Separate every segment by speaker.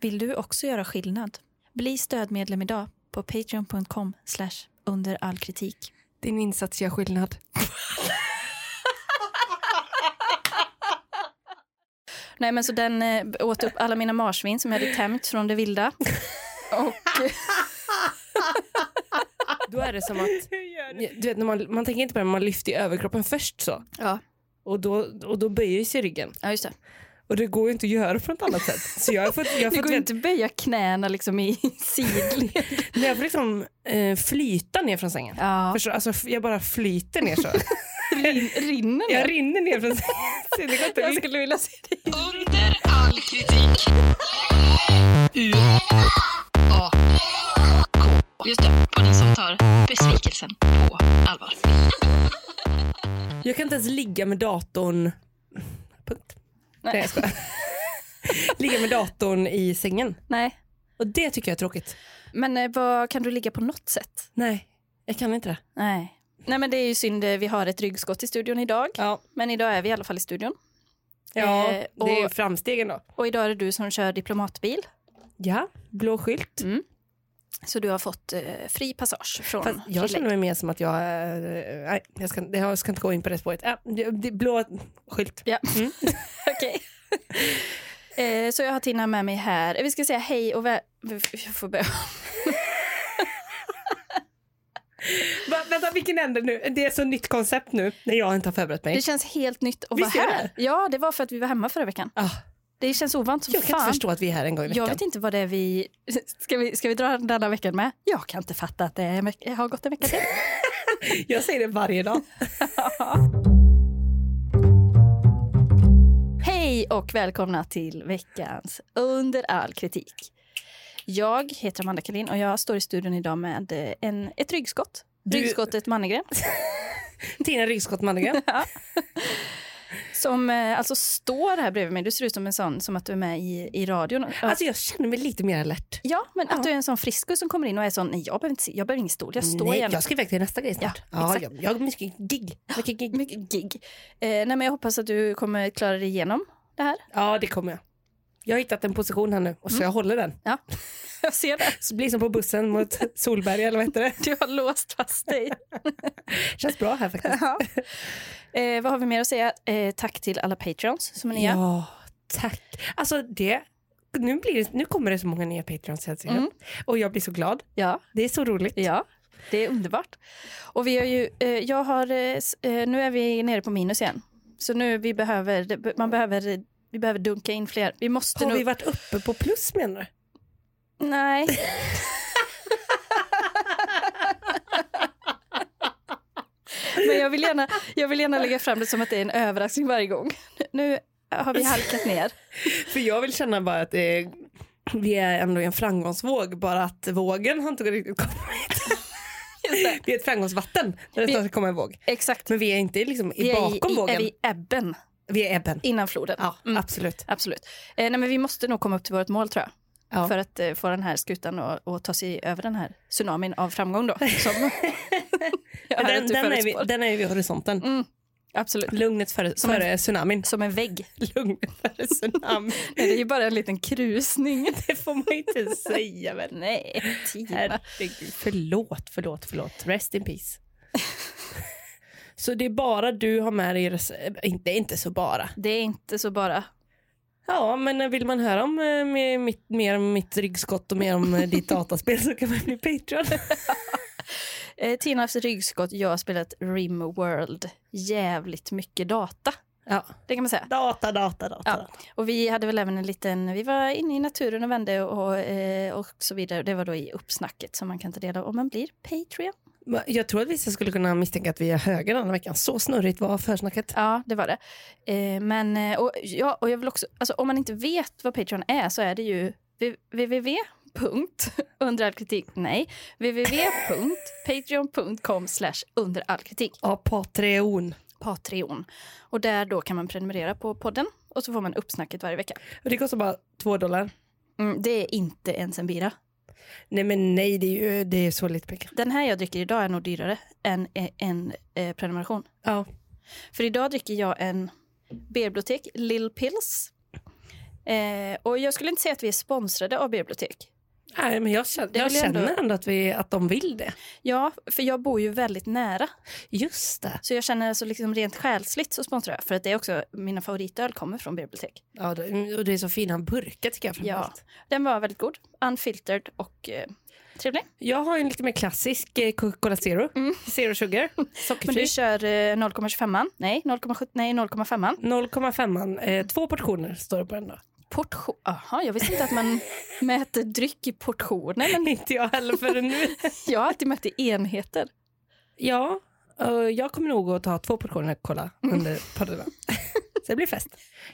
Speaker 1: Vill du också göra skillnad? Bli stödmedlem idag på patreon.com under all kritik.
Speaker 2: Din insats gör skillnad.
Speaker 1: Nej men så den eh, åt upp alla mina marsvin som jag hade tämjt från det vilda. Och,
Speaker 2: Då är det som att, du vet, när man, man tänker inte på det, men man lyfter ju överkroppen först så.
Speaker 1: ja.
Speaker 2: Och då, och då böjer sig ryggen.
Speaker 1: ja, just det.
Speaker 2: Och det går ju inte att göra på något annat sätt. Så jag har fått, jag har
Speaker 1: Det
Speaker 2: fått,
Speaker 1: går ju inte att böja knäna liksom i sidled.
Speaker 2: men jag får liksom eh, flyta ner från sängen.
Speaker 1: Ja.
Speaker 2: Förstår, du? alltså, f- jag bara flyter ner så.
Speaker 1: Rin, rinner
Speaker 2: jag
Speaker 1: ner.
Speaker 2: rinner ner från sängen. Så det går inte
Speaker 1: Jag
Speaker 2: att
Speaker 1: skulle vilja se dig.
Speaker 3: Under all kritik. U-A-K. Just det, podden som tar besvikelsen på allvar.
Speaker 2: Jag kan inte ens ligga med datorn... Punkt. Nej,
Speaker 1: Nej.
Speaker 2: jag skojar. Ligga med datorn i sängen.
Speaker 1: Nej.
Speaker 2: Och det tycker jag är tråkigt.
Speaker 1: Men eh, vad, kan du ligga på något sätt?
Speaker 2: Nej, jag kan inte det.
Speaker 1: Nej. Nej men det är ju synd, eh, vi har ett ryggskott i studion idag.
Speaker 2: Ja,
Speaker 1: Men idag är vi i alla fall i studion.
Speaker 2: ja
Speaker 1: Eh,
Speaker 2: det är ju
Speaker 1: och-
Speaker 2: framstegen då.
Speaker 1: Och idag är det du som kör diplomatbil.
Speaker 2: Ja, blå skylt.
Speaker 1: Mm. Så du har fått eh, fri passage från
Speaker 2: Fast jag känner mig mer som att jag är... eh, Nej, jag ska, jag ska inte gå in på det spåret. Äh, det, det, blå skylt.
Speaker 1: Ja, okej. Eh, Så jag har Tina med mig här. Eh, Vi ska säga hej och väl... Jag får börja.
Speaker 2: Va, vänta, vilken ände nu? Det är så nytt koncept nu när jag inte har förberett mig.
Speaker 1: Det känns helt nytt att vara
Speaker 2: Visst gör
Speaker 1: här. Ja, det var för att vi var hemma förra veckan.
Speaker 2: Ah,
Speaker 1: Det känns ovant som
Speaker 2: jag kan inte
Speaker 1: fan.
Speaker 2: förstå att vi är här en gång i veckan.
Speaker 1: Jag vet inte vad det är vi... Ska vi, ska vi dra denna veckan med? Jag kan inte fatta att det är en veck- har gått en vecka till.
Speaker 2: jag säger det varje dag.
Speaker 1: Hej och välkomna till veckans Under all kritik. Jag heter Amanda Kalin och jag står i studion idag med eh, en, ett ryggskott.
Speaker 2: Du-
Speaker 1: Ryggskottet Mannegren.
Speaker 2: Tina Ryggskott Mannegren.
Speaker 1: Som eh, alltså står här bredvid mig. Du ser ut som en sån som att du är med i, i radion.
Speaker 2: Alltså jag känner mig lite mer alert.
Speaker 1: ja, men att du är en sån frisko som kommer in och är sån, nej jag behöver, inte, se- jag behöver ingen stol, jag står
Speaker 2: Nej,
Speaker 1: gärna.
Speaker 2: jag ska iväg till nästa grej snart.
Speaker 1: Ja,
Speaker 2: Ja,
Speaker 1: exakt.
Speaker 2: jag, jag har mycket gig. Mycket gig.
Speaker 1: Mycket gig. Eh, nej men jag hoppas att du kommer klara dig igenom det här.
Speaker 2: Ja, det kommer jag. Jag har hittat en position här nu och
Speaker 1: Mm.
Speaker 2: så jag håller den.
Speaker 1: Ja, jag ser det.
Speaker 2: Så det blir som på bussen mot Solberga eller vad heter det?
Speaker 1: Du har låst fast dig.
Speaker 2: Känns bra här faktiskt.
Speaker 1: Ja. Eh, vad har vi mer att säga? Eh, tack till alla patreons som är nya.
Speaker 2: Ja, tack. Alltså det, nu, blir det, nu kommer det så många nya Patreons jag ser.
Speaker 1: Mm.
Speaker 2: Och jag blir så glad.
Speaker 1: Ja.
Speaker 2: Det är så roligt.
Speaker 1: Ja, det är underbart. Och vi har ju, eh, jag har, eh, s- eh, nu är vi nere på minus igen. Så nu vi behöver, det- man behöver, vi behöver dunka in fler. Vi måste
Speaker 2: Har
Speaker 1: nog...
Speaker 2: vi varit uppe på plus menar du?
Speaker 1: Nej. Men jag vill, gärna, jag vill gärna lägga fram det som att det är en överraskning varje gång. Nu har vi halkat ner.
Speaker 2: För jag vill känna bara att eh, vi är ändå i en framgångsvåg, bara att vågen har inte riktigt kommit. Vi är ett framgångsvatten där det
Speaker 1: Vi-
Speaker 2: snart kommer en våg.
Speaker 1: Exakt.
Speaker 2: Men vi är inte liksom
Speaker 1: Vi är i,
Speaker 2: bakom
Speaker 1: i,
Speaker 2: vågen.
Speaker 1: är vi i ebben
Speaker 2: Vi är ebben.
Speaker 1: innan floden.
Speaker 2: Ja,
Speaker 1: Mm.
Speaker 2: absolut.
Speaker 1: Absolut. Eh, nej, men vi måste nog komma upp till vårt mål tror jag.
Speaker 2: Ja.
Speaker 1: för att eh, få den här skutan och, och ta sig över den här tsunamin av framgång då. Som jag hör
Speaker 2: den,
Speaker 1: att du
Speaker 2: den, är vi,
Speaker 1: förutspår.
Speaker 2: den är vid horisonten.
Speaker 1: Absolut.
Speaker 2: Lugnet före, före tsunamin.
Speaker 1: Som en vägg.
Speaker 2: Lugnet före tsunamin.
Speaker 1: Nej, det är ju bara en liten krusning.
Speaker 2: det får man inte säga väl.
Speaker 1: Nej, Tina.
Speaker 2: Herregud. Förlåt, förlåt, förlåt. Rest in peace. så det är bara du har med dig, res- eh, inte, inte så bara.
Speaker 1: Det är inte så bara.
Speaker 2: Ja, men vill man höra om, eh, med mitt, mer om mitt ryggskott och mer om eh, ditt dataspel så kan man bli Patreon.
Speaker 1: Eh, Tinas ryggskott, jag har spelat Rimworld. Jävligt mycket data.
Speaker 2: Ja.
Speaker 1: Det kan man säga.
Speaker 2: Data, data, data.
Speaker 1: Ja. Och vi hade väl även en liten, vi var inne i naturen och vände och, eh, och så vidare. Det var då i uppsnacket som man kan ta del av om man blir Patreon.
Speaker 2: Men Jag tror att vissa skulle kunna misstänka att vi är höger den här veckan. Så snurrigt var försnacket.
Speaker 1: Ja, det var det. Eh, men, eh, och, ja, och jag vill också, alltså, om man inte vet vad Patreon är så är det ju www. Under all kritik, nej. www.patreon.com slash under all kritik.
Speaker 2: Ja, Patreon.
Speaker 1: Patreon. Och där då kan man prenumerera på podden och så får man uppsnacket varje vecka.
Speaker 2: Och det kostar bara två dollar.
Speaker 1: Mm, det är inte ens en bira.
Speaker 2: Nej men nej, det är ju det är så lite pengar.
Speaker 1: Den här jag dricker idag är nog dyrare än eh, en eh, prenumeration.
Speaker 2: Ja.
Speaker 1: För idag dricker jag en Berbibliotek Lill Pills Eh, och jag skulle inte säga att vi är sponsrade av bibliotek.
Speaker 2: Nej, men jag känner,
Speaker 1: Det
Speaker 2: jag
Speaker 1: vill jag ändå-
Speaker 2: känner ändå att, vi, att de vill det.
Speaker 1: Ja, för jag bor ju väldigt nära.
Speaker 2: Just det.
Speaker 1: Så jag känner alltså liksom rent själsligt så sponsrar jag. För att det är också, mina favoritöl kommer från bibliotek.
Speaker 2: Ja, det, och det är så fina burkar tycker jag framförallt.
Speaker 1: Den var väldigt god, unfiltered och eh, trevlig.
Speaker 2: Jag har ju en lite mer klassisk eh, Coca-Cola Zero. Zero sugar.
Speaker 1: Men
Speaker 2: Sockerfri.
Speaker 1: du kör eh, 0,25? Nej, 0,7? Nej, 0,5?
Speaker 2: 0,5. Eh, två portioner står det på den då.
Speaker 1: Portion? Jaha, jag visste inte att man mäter dryck i portioner. Men
Speaker 2: Inte jag heller förrän nu.
Speaker 1: jag har alltid mätt i enheter.
Speaker 2: ja, eh, jag kommer nog att ta två portioner Cola under podden. så det blir fest.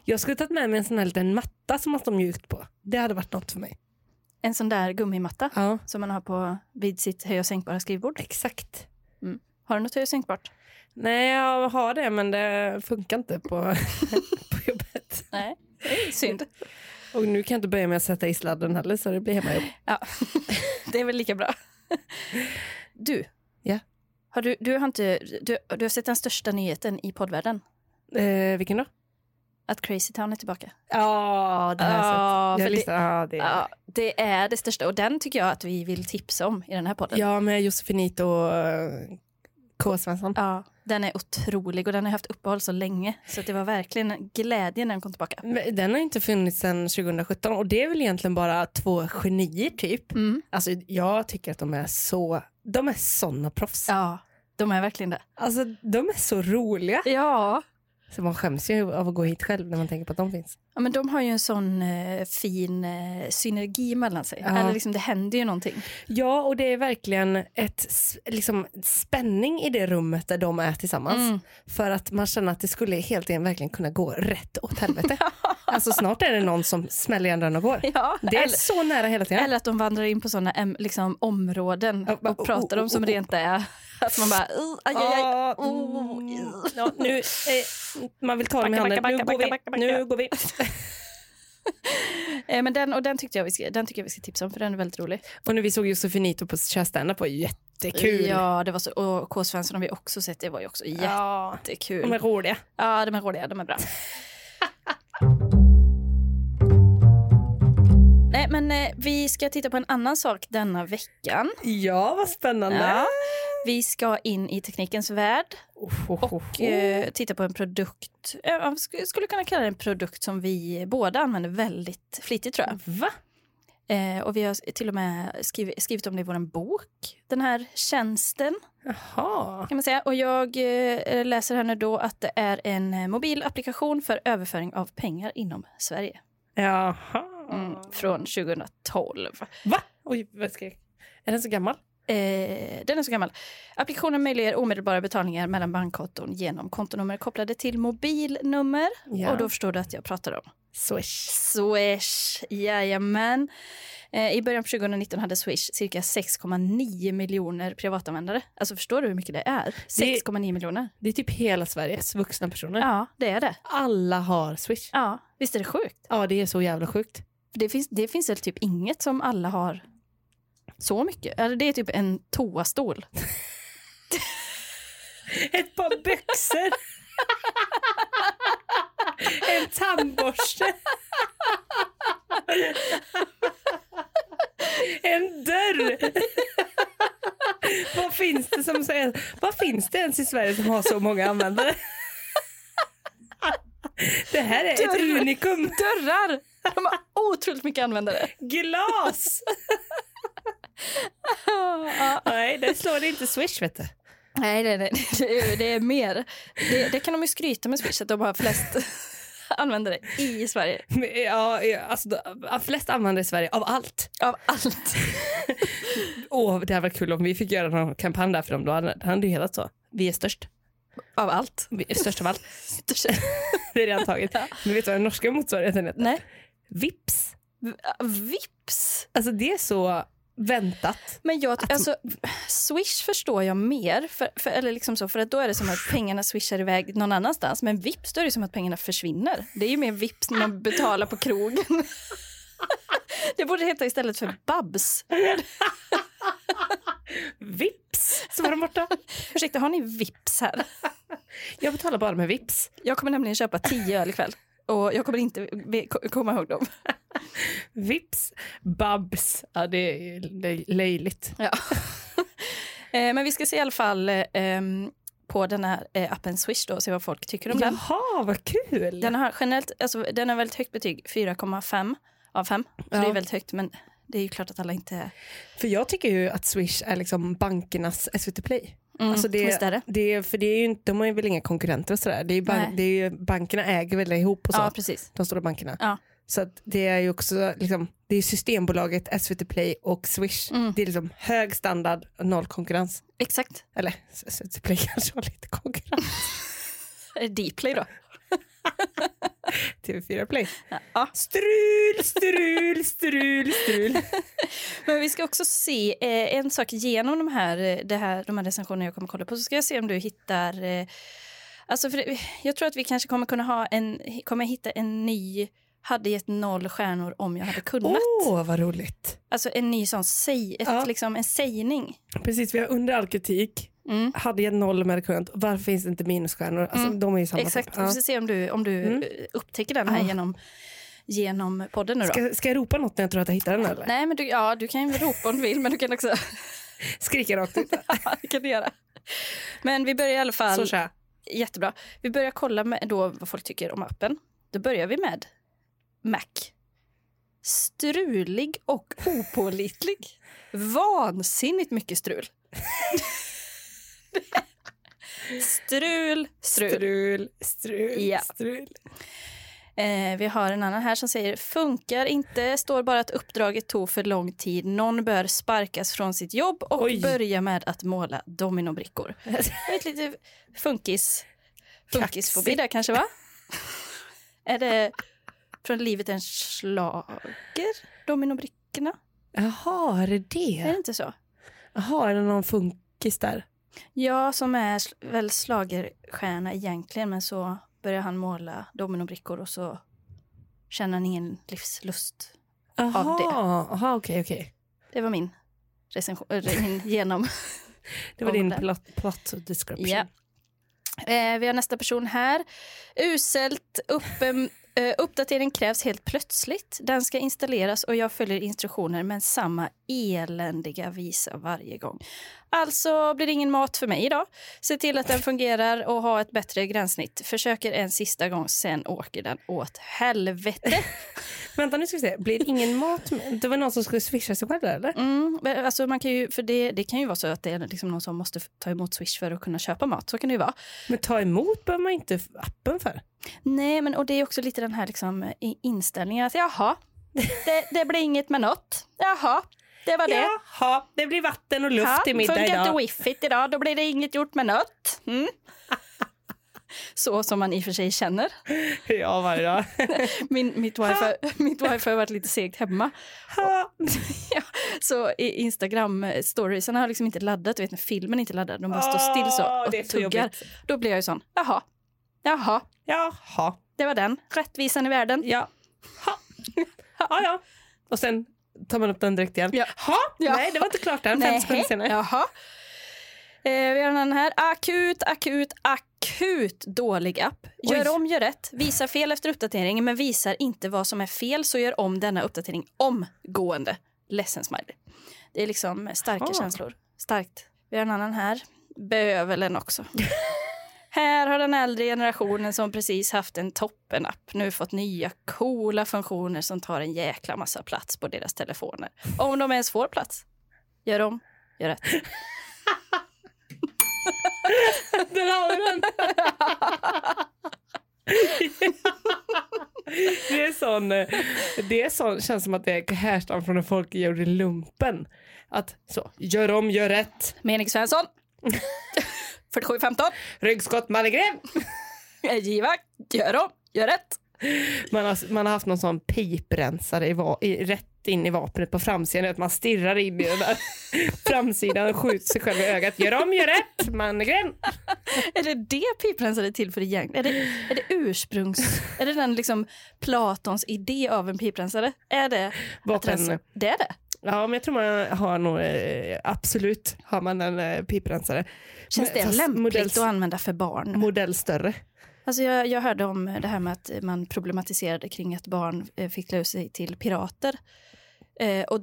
Speaker 2: Jag skulle tagit med mig en sån här liten matta som man står mjukt på. Det hade varit något för mig.
Speaker 1: En sån där gummimatta
Speaker 2: Ja,
Speaker 1: som man har på vid sitt höj och sänkbara skrivbord.
Speaker 2: exakt.
Speaker 1: Har du något höj och sänkbart?
Speaker 2: Nej, jag har det men det funkar inte på, på jobbet.
Speaker 1: Nej, synd.
Speaker 2: Och nu kan jag inte börja med att sätta i sladden heller så det blir hemmajobb.
Speaker 1: Ja, det är väl lika bra. Du,
Speaker 2: Ja.
Speaker 1: har du, du, har inte, du, du har sett den största nyheten i poddvärlden?
Speaker 2: Eh, vilken då?
Speaker 1: Att Crazy Town är tillbaka.
Speaker 2: Ja, det har jag sett.
Speaker 1: Ja,
Speaker 2: Jag
Speaker 1: för det,
Speaker 2: lyssnar- ja, det,
Speaker 1: ja, det är det största och den tycker jag att vi vill tipsa om i den här podden.
Speaker 2: ja, med Josefinito och eh, K. Svensson.
Speaker 1: Ja, den är otrolig och den har haft uppehåll så länge så att det var verkligen en glädje när den kom tillbaka.
Speaker 2: Men Den har ju inte funnits sedan 2017 och det är väl egentligen bara två genier typ.
Speaker 1: Mm.
Speaker 2: Alltså jag tycker att de är så, de är såna proffs.
Speaker 1: Ja, de är verkligen det.
Speaker 2: Alltså de är så roliga.
Speaker 1: Ja.
Speaker 2: Så man skäms ju av att gå hit själv när man tänker på att de finns.
Speaker 1: ja, men de har ju en sån eh, fin eh, synergi mellan sig.
Speaker 2: Ja.
Speaker 1: Eller liksom det händer ju någonting.
Speaker 2: Ja och det är verkligen ett s- liksom, spänning i det rummet där de är tillsammans.
Speaker 1: Mm.
Speaker 2: För att man känner att det skulle helt enkelt verkligen kunna gå rätt åt helvete. alltså snart är det någon som smäller igen dörren och går.
Speaker 1: Ja,
Speaker 2: Det är
Speaker 1: eller,
Speaker 2: så nära hela tiden.
Speaker 1: eller att de vandrar in på såna em, liksom, områden
Speaker 2: Ja, bara,
Speaker 1: och pratar
Speaker 2: oh,
Speaker 1: om som
Speaker 2: oh, oh.
Speaker 1: rent är att man bara uh, aj, aj, aj.
Speaker 2: Ja,
Speaker 1: Oh,
Speaker 2: mm.
Speaker 1: ugh.
Speaker 2: Ja, nu, eh, man vill ta dem i
Speaker 1: Backa, backa,
Speaker 2: handen. Nu
Speaker 1: backa,
Speaker 2: går vi.
Speaker 1: backa, backa, backa.
Speaker 2: Nu går vi.
Speaker 1: Eh, men den, och den, tyckte jag vi ska, den tycker jag vi ska tipsa om för den är väldigt rolig.
Speaker 2: Och nu vi såg Josefinito på Kör standup var jättekul.
Speaker 1: Ja, det var så, och K. Svensson har vi också sett, det var ju också
Speaker 2: Ja,
Speaker 1: jättekul.
Speaker 2: De är roliga.
Speaker 1: Ja, de är roliga, de är bra. Nej, men eh, vi ska titta på en annan sak denna veckan.
Speaker 2: Ja, vad spännande.
Speaker 1: Ja. Vi ska in i teknikens värld och eh, titta på en produkt. eh, Jag sk- skulle kunna kalla det en produkt som vi båda använder väldigt flitigt tror jag.
Speaker 2: Va?
Speaker 1: Eh, och vi har s- till och med skrivit, skrivit om det i vår bok, den här tjänsten.
Speaker 2: Jaha.
Speaker 1: kan man säga. Och jag eh, läser här nu då att det är en eh, mobil applikation för överföring av pengar inom Sverige
Speaker 2: Jaha.
Speaker 1: mm, från 2012.
Speaker 2: Va? Oj, vad skrek. Är den så gammal?
Speaker 1: Eh, den är så gammal. Applikationen möjliggör omedelbara betalningar mellan bankkonton genom kontonummer kopplade till mobilnummer.
Speaker 2: Ja.
Speaker 1: Och då förstår du att jag pratar om
Speaker 2: Swish.
Speaker 1: Swish. Jajamän. Eh, I början på 2019 hade Swish cirka 6,9 miljoner privatanvändare. Alltså förstår du hur mycket det är? 6,9 miljoner.
Speaker 2: Det är typ hela Sveriges vuxna personer.
Speaker 1: Ja, det är det.
Speaker 2: Alla har Swish.
Speaker 1: Ja, visst är det sjukt?
Speaker 2: Ja, det är så jävla sjukt.
Speaker 1: Det finns, det finns väl typ inget som alla har så mycket. Eller det är typ en toastol.
Speaker 2: Ett par byxor. en tandborste. en dörr. vad, finns det som, så- vad finns det ens i Sverige som har så många användare? Det här är
Speaker 1: Dörr.
Speaker 2: ett unikum.
Speaker 1: Dörrar! De har otroligt mycket användare.
Speaker 2: Glas! Nej, det slår det inte Swish vet du.
Speaker 1: Nej, nej, nej. Det, är, det är mer. Det, det kan de ju skryta med Swish, att de har flest användare i Sverige.
Speaker 2: Men, Ja, ja, alltså, de- flest användare i Sverige av allt.
Speaker 1: Av allt.
Speaker 2: Åh, det hade varit kul om vi fick göra någon kampanj där för dem. Då hade det hade ju helat så. Vi är störst.
Speaker 1: Av allt.
Speaker 2: Vi är störst av allt. Det är redan taget. Men vet du vad den norska motsvarigheten heter?
Speaker 1: Nej.
Speaker 2: Vips.
Speaker 1: Vips!
Speaker 2: Alltså det är så väntat.
Speaker 1: Men jag, alltså, Swish förstår jag mer, för, för, eller liksom så, för att då är det som att pengarna swishar iväg någon annanstans. Men vips, då är det som att pengarna försvinner. Det är ju mer vips när man betalar på krogen. Det borde heta istället för Babs.
Speaker 2: Vips. Så var den borta.
Speaker 1: Ursäkta, har ni vips här?
Speaker 2: Jag betalar bara med vips.
Speaker 1: Jag kommer nämligen köpa tio öl ikväll och jag kommer inte ve- ko- komma ihåg dem.
Speaker 2: Vips, Babs. Ja, det är le- löjligt.
Speaker 1: Ja. Eh, Men vi ska se i alla fall eh, ehm, på den här eh, appen Swish då, och se vad folk tycker om den.
Speaker 2: Jaha, vad kul!
Speaker 1: Den har generellt, alltså den har väldigt högt betyg, 4,5 av 5. Så
Speaker 2: Ja.
Speaker 1: det är väldigt högt, men det är ju klart att alla inte...
Speaker 2: För jag tycker ju att Swish är liksom bankernas SVT Play.
Speaker 1: Mm,
Speaker 2: Alltså det,
Speaker 1: visst är det?
Speaker 2: det är, för det är ju inte, de har ju väl inga konkurrenter och sådär. Det är ju
Speaker 1: Nej.
Speaker 2: bank, det är ju, bankerna äger väl ihop och så.
Speaker 1: Ja, precis.
Speaker 2: de stora bankerna.
Speaker 1: Ja.
Speaker 2: Så att det är ju också liksom, det är Systembolaget, SVT Play och Swish.
Speaker 1: Mm.
Speaker 2: Det är liksom hög standard, noll konkurrens.
Speaker 1: Exakt.
Speaker 2: Eller SVT Play kanske har lite konkurrens.
Speaker 1: Är det Eh, Dplay då?
Speaker 2: TV4 Play.
Speaker 1: Ja.
Speaker 2: Strul, strul, strul, strul.
Speaker 1: Men vi ska också se eh, en sak genom de här, eh, det här, de här recensionerna jag kommer kolla på. Så ska jag se om du hittar... Eh, alltså för, det- jag tror att vi kanske kommer kunna ha en, kommer hitta en ny hade gett noll stjärnor om jag hade kunnat.
Speaker 2: Åh, vad roligt.
Speaker 1: Alltså en ny sån säg, ett,
Speaker 2: Ja.
Speaker 1: liksom, en sägning.
Speaker 2: Precis, vi har under all kritik.
Speaker 1: Mm.
Speaker 2: Hade jag noll med kunnat. Varför finns det inte minusstjärnor? Alltså,
Speaker 1: Mm.
Speaker 2: De är ju samma.
Speaker 1: Exakt,
Speaker 2: typ. Ja.
Speaker 1: vi ska se om du, om du
Speaker 2: Mm.
Speaker 1: eh, upptäcker den här
Speaker 2: Ja.
Speaker 1: genom, genom podden nu då.
Speaker 2: Ska, ska jag ropa något när jag tror att jag hittar den? Eller?
Speaker 1: Nej men du, ja, du kan ju ropa om du vill men du kan också,
Speaker 2: Skrika rakt ut.
Speaker 1: ja, det kan du göra. Men vi börjar i alla fall.
Speaker 2: Så kör jag.
Speaker 1: Jättebra. Vi börjar kolla med då vad folk tycker om appen. Då börjar vi med Mac. Strulig och opålitlig. Vansinnigt mycket strul. strul, strul.
Speaker 2: Strul, strul,
Speaker 1: Ja.
Speaker 2: strul.
Speaker 1: Eh, vi har en annan här som säger funkar inte, står bara att uppdraget tog för lång tid. Någon bör sparkas från sitt jobb och
Speaker 2: Oj.
Speaker 1: börja med att måla dominobrickor. Ett lite funkis, funkisfobi där kanske va? är det från livet en slager? Dominobrickorna?
Speaker 2: Jaha, är det det?
Speaker 1: Är det inte så?
Speaker 2: Jaha, är det någon funkis där?
Speaker 1: Ja, som är sl- väl slagerstjärna egentligen men så börjar han måla dominobrickor och så känner han ingen livslust.
Speaker 2: Jaha,
Speaker 1: det.
Speaker 2: aha, okej, okej.
Speaker 1: Det var min recension, eller min genom.
Speaker 2: Det var
Speaker 1: Om
Speaker 2: din
Speaker 1: det.
Speaker 2: plot, plot description.
Speaker 1: Ja. Eh, vi har nästa person här. Uselt upp, eh, uppdatering krävs helt plötsligt. Den ska installeras och jag följer instruktioner men samma eländiga visa varje gång. Alltså blir det ingen mat för mig idag. Se till att den fungerar och ha ett bättre gränssnitt. Försöker en sista gång, sen åker den åt helvete.
Speaker 2: Vänta, nu ska vi se. Blir det ingen mat med? Det var någon som skulle swisha sig själv där, eller?
Speaker 1: Mm, men alltså man kan ju, för det, det kan ju vara så att det är liksom någon som måste ta emot Swish för att kunna köpa mat. Så kan det ju vara.
Speaker 2: Men ta emot behöver man inte appen för.
Speaker 1: Nej, men och det är också lite den här liksom, i- inställningen att jaha, det, det blir inget med något. Jaha, det var det.
Speaker 2: Jaha, det blir vatten och luft
Speaker 1: Ja,
Speaker 2: i middag
Speaker 1: funkar inte
Speaker 2: idag.
Speaker 1: wifi idag, då blir det inget gjort med något. Mm. Så som man i och för sig känner.
Speaker 2: Ja, varje dag.
Speaker 1: Min, mitt, wifi, mitt wifi har varit lite segt hemma.
Speaker 2: Ha.
Speaker 1: Ja, så i Instagram-storiesarna har liksom inte laddat, du vet när filmen inte laddar, de bara står still så
Speaker 2: Åh,
Speaker 1: och
Speaker 2: det är så
Speaker 1: tuggar.
Speaker 2: jobbigt.
Speaker 1: Då blir jag ju sån, jaha, jaha,
Speaker 2: Jaha.
Speaker 1: det var den, rättvisan i världen.
Speaker 2: Ja. Ha. Ja, ja. Och sen tar man upp den direkt igen.
Speaker 1: Ja.
Speaker 2: Ha.
Speaker 1: Ja.
Speaker 2: Nej, det var inte klart än. Fem
Speaker 1: Nej.
Speaker 2: sekunder senare.
Speaker 1: Jaha. Eh, vi har den här. Akut, akut, akut dålig app. Gör
Speaker 2: Oj.
Speaker 1: om, gör rätt. Visar fel efter uppdateringen men visar inte vad som är fel så gör om denna uppdatering omgående. Ledsen smiley. Det är liksom starka
Speaker 2: Jaha.
Speaker 1: känslor. Starkt. Vi har en annan här. Bövelen också. Här har den äldre generationen som precis haft en toppenapp nu fått nya coola funktioner som tar en jäkla massa plats på deras telefoner. Om de ens får plats. Gör om, gör rätt.
Speaker 2: Där har vi den! Det är sån, eh, det är sån, känns som att det härstammar från när folk gjorde lumpen. Att så, gör om, gör rätt,
Speaker 1: Mening Svensson. 4715.
Speaker 2: ryggskott, mannegrev.
Speaker 1: Giva. Eh, Gör om, gör rätt.
Speaker 2: Man har, man har haft någon sån piprensare i, va, i, rätt in i vapnet på framsidan, att man stirrar in i den där framsidan och skjuter sig själv i ögat. Gör om, gör rätt, mannegrev.
Speaker 1: Är det det piprensare är till för egentligen? Är det, är det ursprungs... är det den liksom Platons idé av en piprensare? Är det... att
Speaker 2: Vapen.
Speaker 1: rensa- Alltså, Det är det.
Speaker 2: Ja, men jag tror man har nog, eh, absolut har man en eh, piprensare.
Speaker 1: Känns
Speaker 2: Men
Speaker 1: det
Speaker 2: fast
Speaker 1: lämpligt
Speaker 2: modell-
Speaker 1: att använda för barn?
Speaker 2: modell större.
Speaker 1: Alltså jag, jag hörde om det här med att man problematiserade kring att barn eh, fick klä ut sig till pirater. Eh, och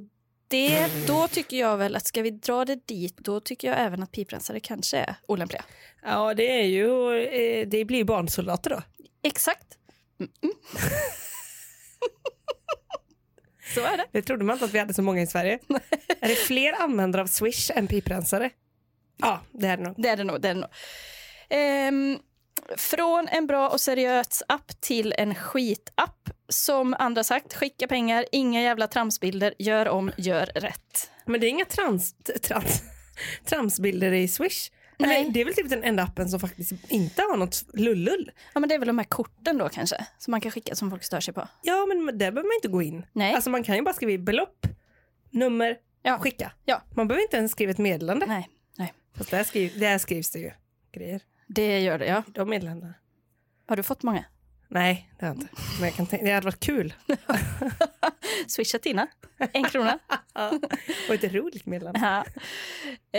Speaker 1: det, då tycker jag väl att ska vi dra det dit, då tycker jag även att piprensare kanske är olämpliga.
Speaker 2: Ja, det är ju, eh, det blir barnsoldater då.
Speaker 1: Exakt. Mm -mm. Så är det.
Speaker 2: Det trodde man inte att vi hade så många i Sverige. är det fler användare av Swish än piprensare? Ja, det är det nog.
Speaker 1: Det är det nog. Det är det nog. Ehm, från en bra och seriös app till en skitapp. Som andra sagt, skicka pengar, inga jävla tramsbilder, gör om, gör rätt.
Speaker 2: Men det är inga trans, trans, tramsbilder i Swish.
Speaker 1: Nej.
Speaker 2: Eller, det är väl typ den enda appen som faktiskt inte har något lullull.
Speaker 1: Ja, men det är väl de här korten då kanske, som man kan skicka som folk stör sig på.
Speaker 2: Ja, men där behöver man inte gå in.
Speaker 1: Nej.
Speaker 2: Alltså man kan ju bara skriva i belopp, nummer,
Speaker 1: Ja.
Speaker 2: skicka.
Speaker 1: Ja.
Speaker 2: Man behöver inte ens skriva ett meddelande.
Speaker 1: Nej, nej.
Speaker 2: Fast där, skriv, där skrivs det ju grejer.
Speaker 1: Det gör det, ja.
Speaker 2: i De meddelandena.
Speaker 1: Har du fått många?
Speaker 2: Nej, det har jag inte. Men jag kan tänka, det hade varit kul.
Speaker 1: Swisha Tina, en krona.
Speaker 2: Och ett roligt meddelande.
Speaker 1: Ja.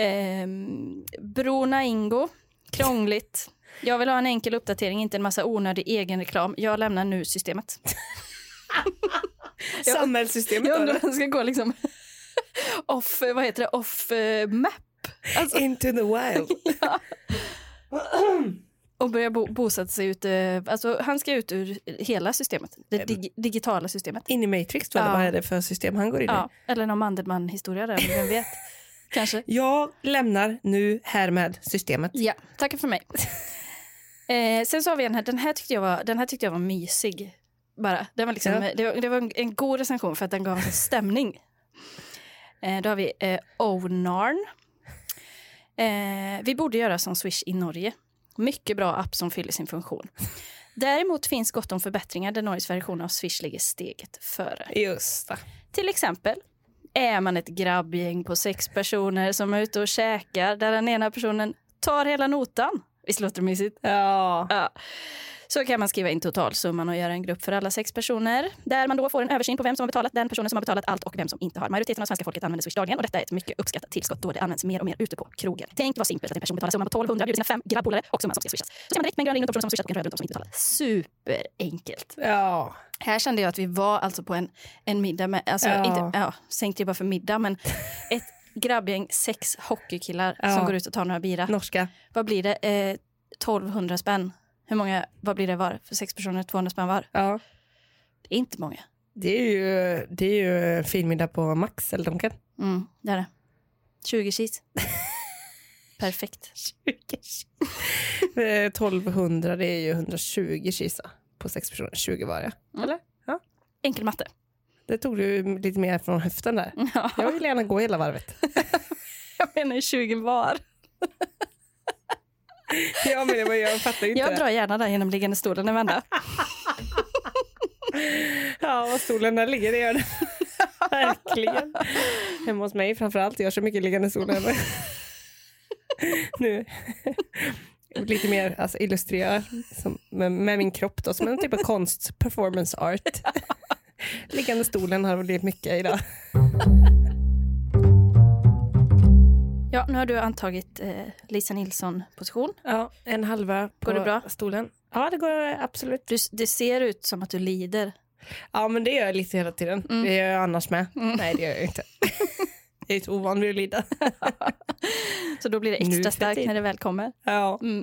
Speaker 1: Ehm, Bruna Ingo, krångligt. Jag vill ha en enkel uppdatering, inte en massa onödig egenreklam. Jag lämnar nu systemet. Jag-
Speaker 2: Samhällssystemet.
Speaker 1: Jag
Speaker 2: har
Speaker 1: undrar
Speaker 2: det.
Speaker 1: om den ska gå liksom off, vad heter det, off eh, map
Speaker 2: Into the wild.
Speaker 1: och börja bo, bosätta sig ute. Alltså han ska ut ur hela systemet, det dig, digitala systemet.
Speaker 2: In i Matrix tror jag,
Speaker 1: Ja.
Speaker 2: vad är det för system han går in i?
Speaker 1: Ja, eller någon Mandelmann-historia där, vem vet. Kanske.
Speaker 2: Jag lämnar nu härmed systemet.
Speaker 1: Ja, tack för mig. Eh, sen så har vi en här, den här tyckte jag var, den här tyckte jag var mysig. Bara. Den var liksom,
Speaker 2: Ja.
Speaker 1: det, var, det var en, en god recension för att den gav en sån stämning. Eh, då har vi eh, Onarn. Eh, vi borde göra som Swish i Norge. Mycket bra app som fyller sin funktion. Däremot finns gott om förbättringar där Norges version av Swish ligger steget före.
Speaker 2: Just det.
Speaker 1: Till exempel är man ett grabbgäng på sex personer som är ute och käkar där den ena personen tar hela notan. Visst låter det mysigt?
Speaker 2: Ja.
Speaker 1: Ja. Så kan man skriva in totalsumman och göra en grupp för alla sex personer där man då får en översyn på vem som har betalat den personen som har betalat allt och vem som inte har. Majoriteten av svenska folket använder Swish dagligen och detta är ett mycket uppskattat tillskott då det används mer och mer ute på krogen. Tänk vad simpelt att en person betalar summan på 1200, bjuder sina fem grabbpolare och summan som ska swishas. Så ser man direkt med en grön ring runt de personer som swishat och en röd runt de som inte betalat. Superenkelt.
Speaker 2: Ja.
Speaker 1: Här kände jag att vi var alltså på en, en middag med, alltså
Speaker 2: Ja.
Speaker 1: inte, ja, sänkte jag bara för middag, men ett grabbgäng, sex hockeykillar
Speaker 2: Ja.
Speaker 1: som går ut och tar några bira.
Speaker 2: Norska.
Speaker 1: Vad blir det? Eh, 1200 spänn. Hur många, vad blir det var? För sex personer, 200 spänn var.
Speaker 2: Ja.
Speaker 1: Det är inte många.
Speaker 2: Det är ju, det är ju en fin middag på Max eller Donken.
Speaker 1: Mm, det är det. 20 kis. Perfekt.
Speaker 2: 1200 Eh, det är ju 120 kisa på sex personer. 20 var det.
Speaker 1: Enkel matte.
Speaker 2: Det tog du lite mer från höften där.
Speaker 1: Ja,
Speaker 2: Jag vill gärna gå hela varvet.
Speaker 1: jag menar ju 20 var.
Speaker 2: Ja, men jag, jag fattar ju
Speaker 1: Jag
Speaker 2: det.
Speaker 1: drar gärna den genomliggande stolen en vända.
Speaker 2: Ja, vad stolen där ligger, det gör det. Verkligen. Hemma hos mig framförallt, jag har så mycket liggande stolar hemma. Nu. Lite mer alltså, illustrera som, med, med min kropp då, som en typ av konst, performance art. Liggande stolen har blivit mycket idag.
Speaker 1: Ja, nu har du antagit eh, Lisa Nilsson-position.
Speaker 2: Ja, en halva på
Speaker 1: Går det bra?
Speaker 2: stolen. Ja, det går absolut.
Speaker 1: Du, det ser ut som att du lider.
Speaker 2: Ja, men det gör jag lite hela tiden.
Speaker 1: Mm.
Speaker 2: Det gör jag annars med.
Speaker 1: Mm.
Speaker 2: Nej, det gör jag inte. Jag är så ovan vid att lida.
Speaker 1: Så då blir det
Speaker 2: Nu för
Speaker 1: extra starkt
Speaker 2: tiden.
Speaker 1: när det väl kommer.
Speaker 2: Ja.
Speaker 1: Mm.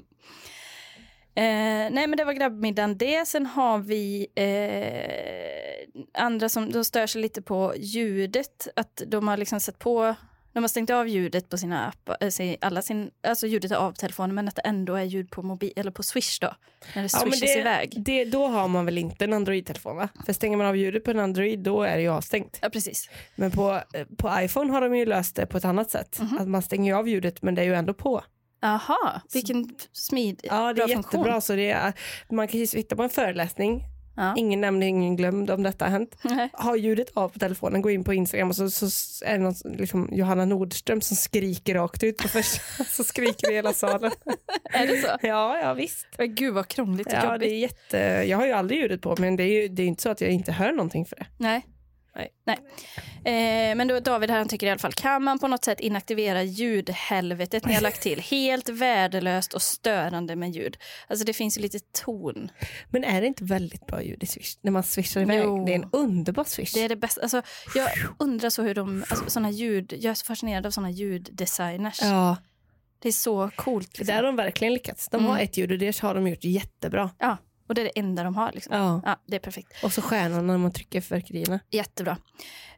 Speaker 1: Eh, nej, men det var grabbmiddagen det. Sen har vi eh, andra som de stör sig lite på ljudet. Att de har liksom satt på, de har stängt av ljudet på sina appar, eh, sin- alla sin, alltså ljudet är av telefonen men att det ändå är ljud på mobil, eller på swish då. När det
Speaker 2: Ja, men
Speaker 1: swishas iväg.
Speaker 2: Det, då har man väl inte en Android-telefon va? För stänger man av ljudet på en Android då är det ju avstängt.
Speaker 1: Ja, precis.
Speaker 2: Men på, eh, på iPhone har de ju löst det på ett annat sätt. Att man stänger ju av ljudet men det är ju ändå på.
Speaker 1: Aha, vilken smid,
Speaker 2: Ja, det är
Speaker 1: bra
Speaker 2: jättebra.
Speaker 1: funktion.
Speaker 2: Så det är, man kan ju sitta på en föreläsning.
Speaker 1: Ja.
Speaker 2: Ingen nämnd, ingen glömd om detta har hänt.
Speaker 1: Nej.
Speaker 2: Ha ljudet av på telefonen, gå in på Instagram och så, så är det någon, som- liksom, Johanna Nordström som skriker rakt ut på första, så skriker i hela salen.
Speaker 1: Är det så?
Speaker 2: Ja, ja visst.
Speaker 1: Men Gud vad krångligt och
Speaker 2: Ja, det
Speaker 1: jobbigt.
Speaker 2: är jätte... Jag har ju aldrig ljudet på men det är ju det är inte så att jag inte hör någonting för det.
Speaker 1: Nej.
Speaker 2: Nej.
Speaker 1: Eh, men då David här han tycker i alla fall, kan man på något sätt inaktivera ljudhelvetet ni har lagt till? Helt värdelöst och störande med ljud. Alltså det finns ju lite ton.
Speaker 2: Men är det inte väldigt bra ljud i swish? När man swishar iväg.
Speaker 1: Jo.
Speaker 2: Det är en underbar swish.
Speaker 1: Det är det bästa. Alltså, jag undrar så hur de, alltså, såna ljud, jag är så fascinerad av sådana ljuddesigners.
Speaker 2: Ja,
Speaker 1: Det är så coolt.
Speaker 2: det
Speaker 1: Liksom.
Speaker 2: där har de verkligen lyckats. De har
Speaker 1: Mm.
Speaker 2: ett ljud och det har de gjort jättebra.
Speaker 1: Ja, och det är det enda de har liksom.
Speaker 2: Ja.
Speaker 1: Ja, det är perfekt.
Speaker 2: Och så stjärnorna när man trycker fyrverkerierna.
Speaker 1: Jättebra.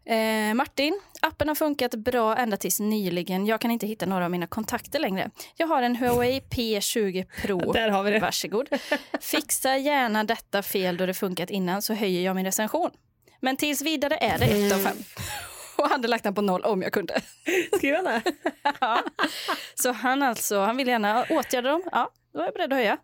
Speaker 1: Eh, Martin, appen har funkat bra ända tills nyligen. Jag kan inte hitta några av mina kontakter längre. Jag har en Huawei P20 Pro.
Speaker 2: Där har vi det.
Speaker 1: Varsågod. Fixa gärna detta fel då det funkat innan så höjer jag min recension. Men tills vidare är det ett av fem. Och hade lagt den på noll om jag kunde.
Speaker 2: Skriv gärna.
Speaker 1: Ja. Så han alltså, han vill gärna åtgärda dem. Ja, då är jag beredd att höja.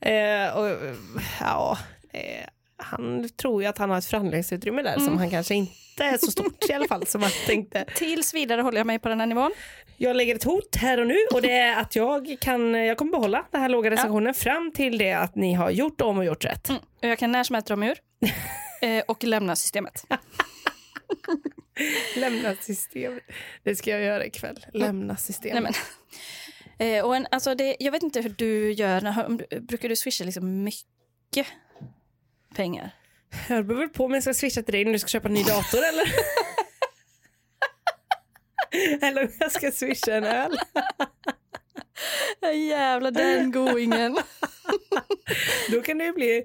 Speaker 2: Eh, och, eh, ja, eh, han tror ju att han har ett förhandlingsutrymme där
Speaker 1: Mm.
Speaker 2: som han kanske inte är så stort i alla fall. Som han tänkte.
Speaker 1: Tills vidare håller jag mig på den här nivån.
Speaker 2: Jag lägger ett hot här och nu och det är att jag, kan, jag kommer behålla den här låga recensionen fram till det att ni har gjort om och gjort rätt.
Speaker 1: Mm. Och jag kan när som helst dra mig ur. Eh, och lämna systemet.
Speaker 2: Lämna systemet. Det ska jag göra ikväll. Lämna systemet.
Speaker 1: Nej, men. Eh, och en, alltså det, jag vet inte hur du gör. När, om du, brukar du swisha liksom mycket pengar?
Speaker 2: Jag beror väl på om jag ska swisha till dig när du ska köpa en ny dator eller? eller om jag ska swisha en öl.
Speaker 1: Ja, Äh, jävlar, den goingen.
Speaker 2: Då kan det ju bli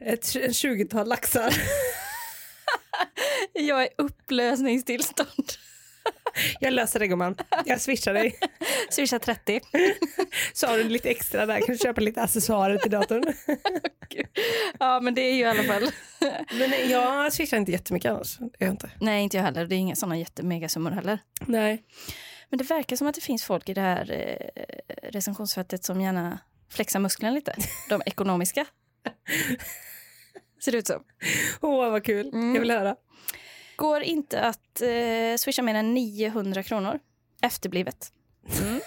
Speaker 2: ett, en 20-tal laxar.
Speaker 1: Jag är upplösningstillstånd.
Speaker 2: Jag löser det gumman. Jag swishar dig.
Speaker 1: Swisha 30.
Speaker 2: Så har du lite extra där. Kan du köpa lite accessoarer till datorn.
Speaker 1: Ja, men det är ju i alla fall.
Speaker 2: Men jag swishar inte jättemycket annars. Det gör jag inte.
Speaker 1: Nej, inte jag heller. Det är inga sådana jättemegasummor heller.
Speaker 2: Nej.
Speaker 1: Men det verkar som att det finns folk i det här eh, recensionsfältet som gärna flexar musklerna lite. De ekonomiska. Ser det ut som.
Speaker 2: Åh vad kul.
Speaker 1: Mm.
Speaker 2: Jag vill höra.
Speaker 1: Går inte att eh, swisha mer än 900 kronor. Efterblivet. Mm.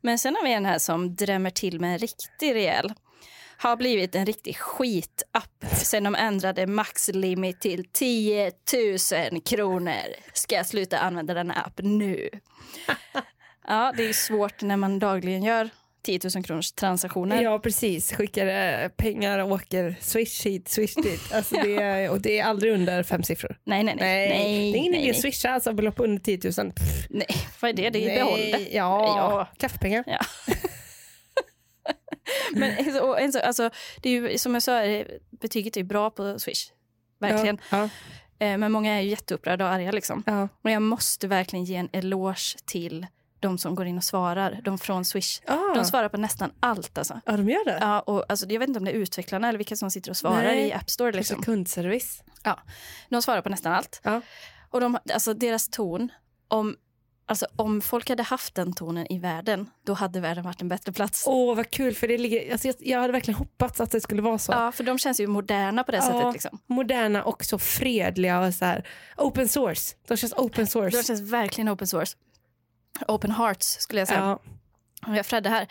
Speaker 1: Men sen har vi en här som drämmer till med en riktig rejäl. Har blivit en riktig skitapp sen de ändrade maxlimit till 10 000 kronor. Ska jag sluta använda denna app nu? Ja, det är svårt när man dagligen gör 10 000 kronors transaktioner.
Speaker 2: Ja precis. Skickar eh, pengar, åker, swish hit, swish dit. Alltså, det är, och det är aldrig under fem siffror.
Speaker 1: Nej, nej, nej.
Speaker 2: Nej, det är ingen idé
Speaker 1: nej,
Speaker 2: att swisha alltså, belopp under 10 000. Pff,
Speaker 1: nej. Vad är det? Det är
Speaker 2: nej.
Speaker 1: behåll det.
Speaker 2: Ja,
Speaker 1: Ja.
Speaker 2: kaffepengar.
Speaker 1: Ja. Men så- och en så, alltså, det är ju, som jag sa, eh, betyget är ju bra på Swish. Verkligen.
Speaker 2: Ja.
Speaker 1: Eh, Men många är ju jätteupprörda och arga. Liksom.
Speaker 2: Ja.
Speaker 1: Och jag måste verkligen ge en eloge till de som går in och svarar. De från Swish.
Speaker 2: Ja.
Speaker 1: De svarar på nästan allt. Alltså.
Speaker 2: ja, de gör det.
Speaker 1: Ja, och, alltså, jag vet inte om det är utvecklarna eller vilka som sitter och svarar
Speaker 2: Nej.
Speaker 1: i App Store.
Speaker 2: Kanske
Speaker 1: Liksom.
Speaker 2: kundservice.
Speaker 1: Ja. De svarar på nästan allt.
Speaker 2: Ja.
Speaker 1: Och de, alltså, deras ton, om, alltså, om folk hade haft den tonen i världen, då hade världen varit en bättre plats.
Speaker 2: Åh vad kul, för det ligger, alltså, jag, jag hade verkligen hoppats att det skulle vara så.
Speaker 1: Ja, för de känns ju moderna på det sättet. Liksom.
Speaker 2: Moderna och så fredliga och så här open source. De känns open source.
Speaker 1: De känns verkligen open source. Open hearts skulle jag säga.
Speaker 2: ja.
Speaker 1: Om jag är Fredde här.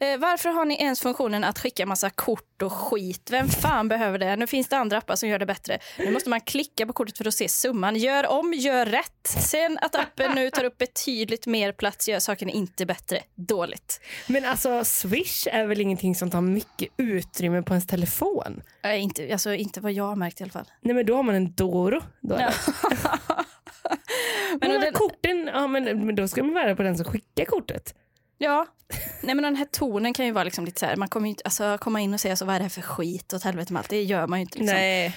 Speaker 1: Eh, varför har ni ens funktionen att skicka massa kort och skit? Vem fan behöver det? Nu finns det andra appar som gör det bättre. Nu måste man klicka på kortet för att se summan. Gör om, gör rätt. Sen att appen nu tar upp betydligt mer plats gör saken inte bättre. Dåligt.
Speaker 2: Men alltså swish är väl ingenting som tar mycket utrymme på ens telefon?
Speaker 1: Eh, inte, alltså, inte vad jag har märkt i alla fall.
Speaker 2: Nej men då har man en Doro. Då är det.
Speaker 1: Men
Speaker 2: Men de här
Speaker 1: den-
Speaker 2: korten, ja, men, men då ska man vara på den som skickar kortet.
Speaker 1: Ja. Nej, men den här tonen kan ju vara liksom lite så här. Man kommer ju inte alltså, komma in och säga så, vad är det här för skit åt helvete med allt. Det gör man ju inte. Liksom.
Speaker 2: Nej.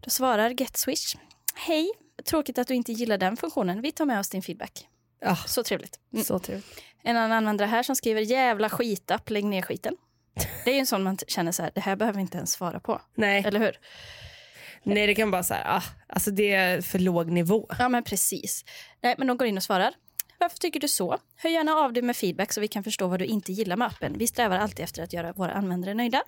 Speaker 1: Då svarar GetSwish. Hej, tråkigt att du inte gillar den funktionen. Vi tar med oss din feedback.
Speaker 2: Ja,
Speaker 1: Så trevligt. Mm.
Speaker 2: så trevligt.
Speaker 1: En annan användare här som skriver jävla skitapp, lägg ner skiten. Det är ju en sån man t- känner så här, det här behöver vi inte ens svara på.
Speaker 2: Nej.
Speaker 1: Eller hur?
Speaker 2: Nej, det kan bara så här, ah, alltså det är för låg nivå.
Speaker 1: Ja, men precis. Nej, men de går in och svarar. Varför tycker du så? Hör gärna av dig med feedback så vi kan förstå vad du inte gillar med appen. Vi strävar alltid efter att göra våra användare nöjda.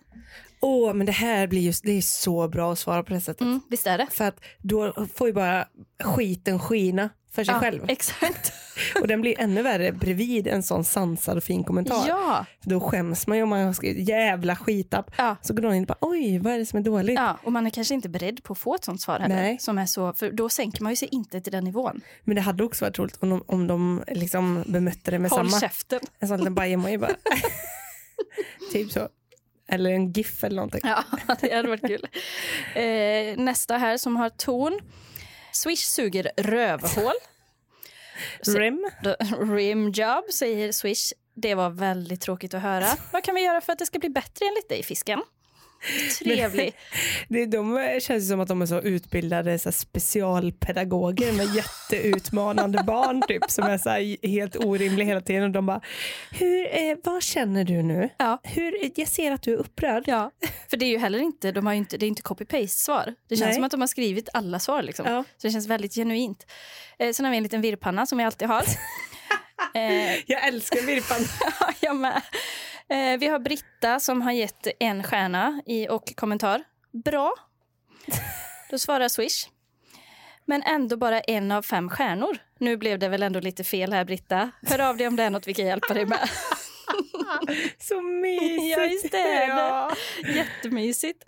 Speaker 2: Åh, men det här blir just, det är
Speaker 1: Mm.
Speaker 2: så bra att svara på det sättet.
Speaker 1: Visst är det?
Speaker 2: För att då får ju bara skiten skina för sig
Speaker 1: Ja,
Speaker 2: själv.
Speaker 1: Exakt.
Speaker 2: Och den blir ännu värre bredvid en sån sansad och fin kommentar.
Speaker 1: Ja.
Speaker 2: För då skäms man ju om man har skrivit jävla skitapp.
Speaker 1: Ja.
Speaker 2: Så går någon in och bara oj vad är det som är dåligt?
Speaker 1: ja. Och man är kanske inte beredd på att få ett sånt svar heller.
Speaker 2: Nej.
Speaker 1: Som är så, för då sänker man ju sig inte till den nivån.
Speaker 2: Men det hade också varit roligt om de, om de liksom bemötte det med
Speaker 1: Håll
Speaker 2: samma.
Speaker 1: käften.
Speaker 2: En sån liten bajemoji bara. typ så. Eller en GIF eller någonting.
Speaker 1: Ja, det hade varit kul. Eh, nästa här som har ton. Swish suger rövhål. Så-
Speaker 2: Rim.
Speaker 1: Rimjob säger Swish. Det var väldigt tråkigt att höra. Vad kan vi göra för att det ska bli bättre enligt dig, fisken? Trevlig.
Speaker 2: Det, de eh, känns ju som att de är så utbildade så här, specialpedagoger med jätteutmanande barn typ som är så här, helt orimliga hela tiden. Och de bara, Hur, eh, vad känner du nu?
Speaker 1: Ja.
Speaker 2: Hur, jag ser att du är upprörd.
Speaker 1: Ja, för det är ju heller inte, de har ju inte, det är inte copy-paste-svar. Det känns
Speaker 2: Nej.
Speaker 1: som att de har skrivit alla svar liksom.
Speaker 2: Ja.
Speaker 1: Så det känns väldigt genuint. Eh, sen har vi en liten virrpanna som vi alltid har. eh,
Speaker 2: Jag älskar Virpan.
Speaker 1: Ja, jag med. Eh, vi har Britta som har gett en stjärna i, och kommentar. Bra. Då svarar Swish. Men ändå bara en av fem stjärnor. Nu blev det väl ändå lite fel här, Britta. Hör av dig om det är något vi kan hjälpa dig med.
Speaker 2: så mysigt.
Speaker 1: Ja, just det.
Speaker 2: Ja.
Speaker 1: Jättemysigt.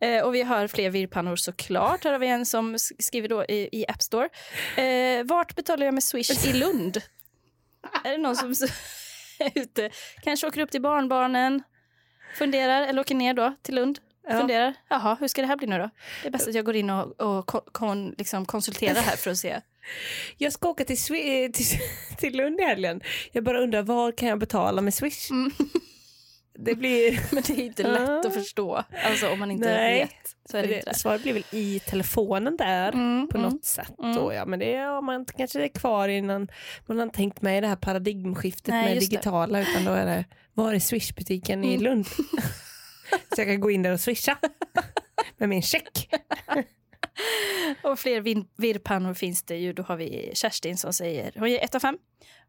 Speaker 1: Eh, och vi har fler virrpannor såklart. Här har vi en som s- skriver då i, i App Store. Eh, vart betalar jag med Swish i Lund? är det någon som s- är ute? Kanske åker upp till barnbarnen, funderar, eller åker ner då till Lund.
Speaker 2: Ja.
Speaker 1: Funderar, jaha, hur ska det här bli nu då? Det är bäst att jag går in och, och kon, kon, liksom konsulterar här för att se.
Speaker 2: Jag ska åka till, Swi- eh, till, till Lund i helgen. Jag bara undrar var kan jag betala med Swish?
Speaker 1: Mm.
Speaker 2: Det blir...
Speaker 1: Men det är inte lätt att förstå, alltså om man inte
Speaker 2: Nej.
Speaker 1: vet. Så är det inte det.
Speaker 2: Svaret blir väl i telefonen där
Speaker 1: Mm,
Speaker 2: på
Speaker 1: mm.
Speaker 2: något sätt. Då, ja. Men det har man inte- kanske är kvar innan man har tänkt med det här paradigmskiftet
Speaker 1: Nej,
Speaker 2: med
Speaker 1: just det. Mm.
Speaker 2: digitala. Utan då är det, var är Swish-butiken i Lund? Så jag kan gå in där och swisha med min check.
Speaker 1: Och fler vin- virrpannor finns det ju. Då har vi Kerstin som säger, hon ger 1 av 5.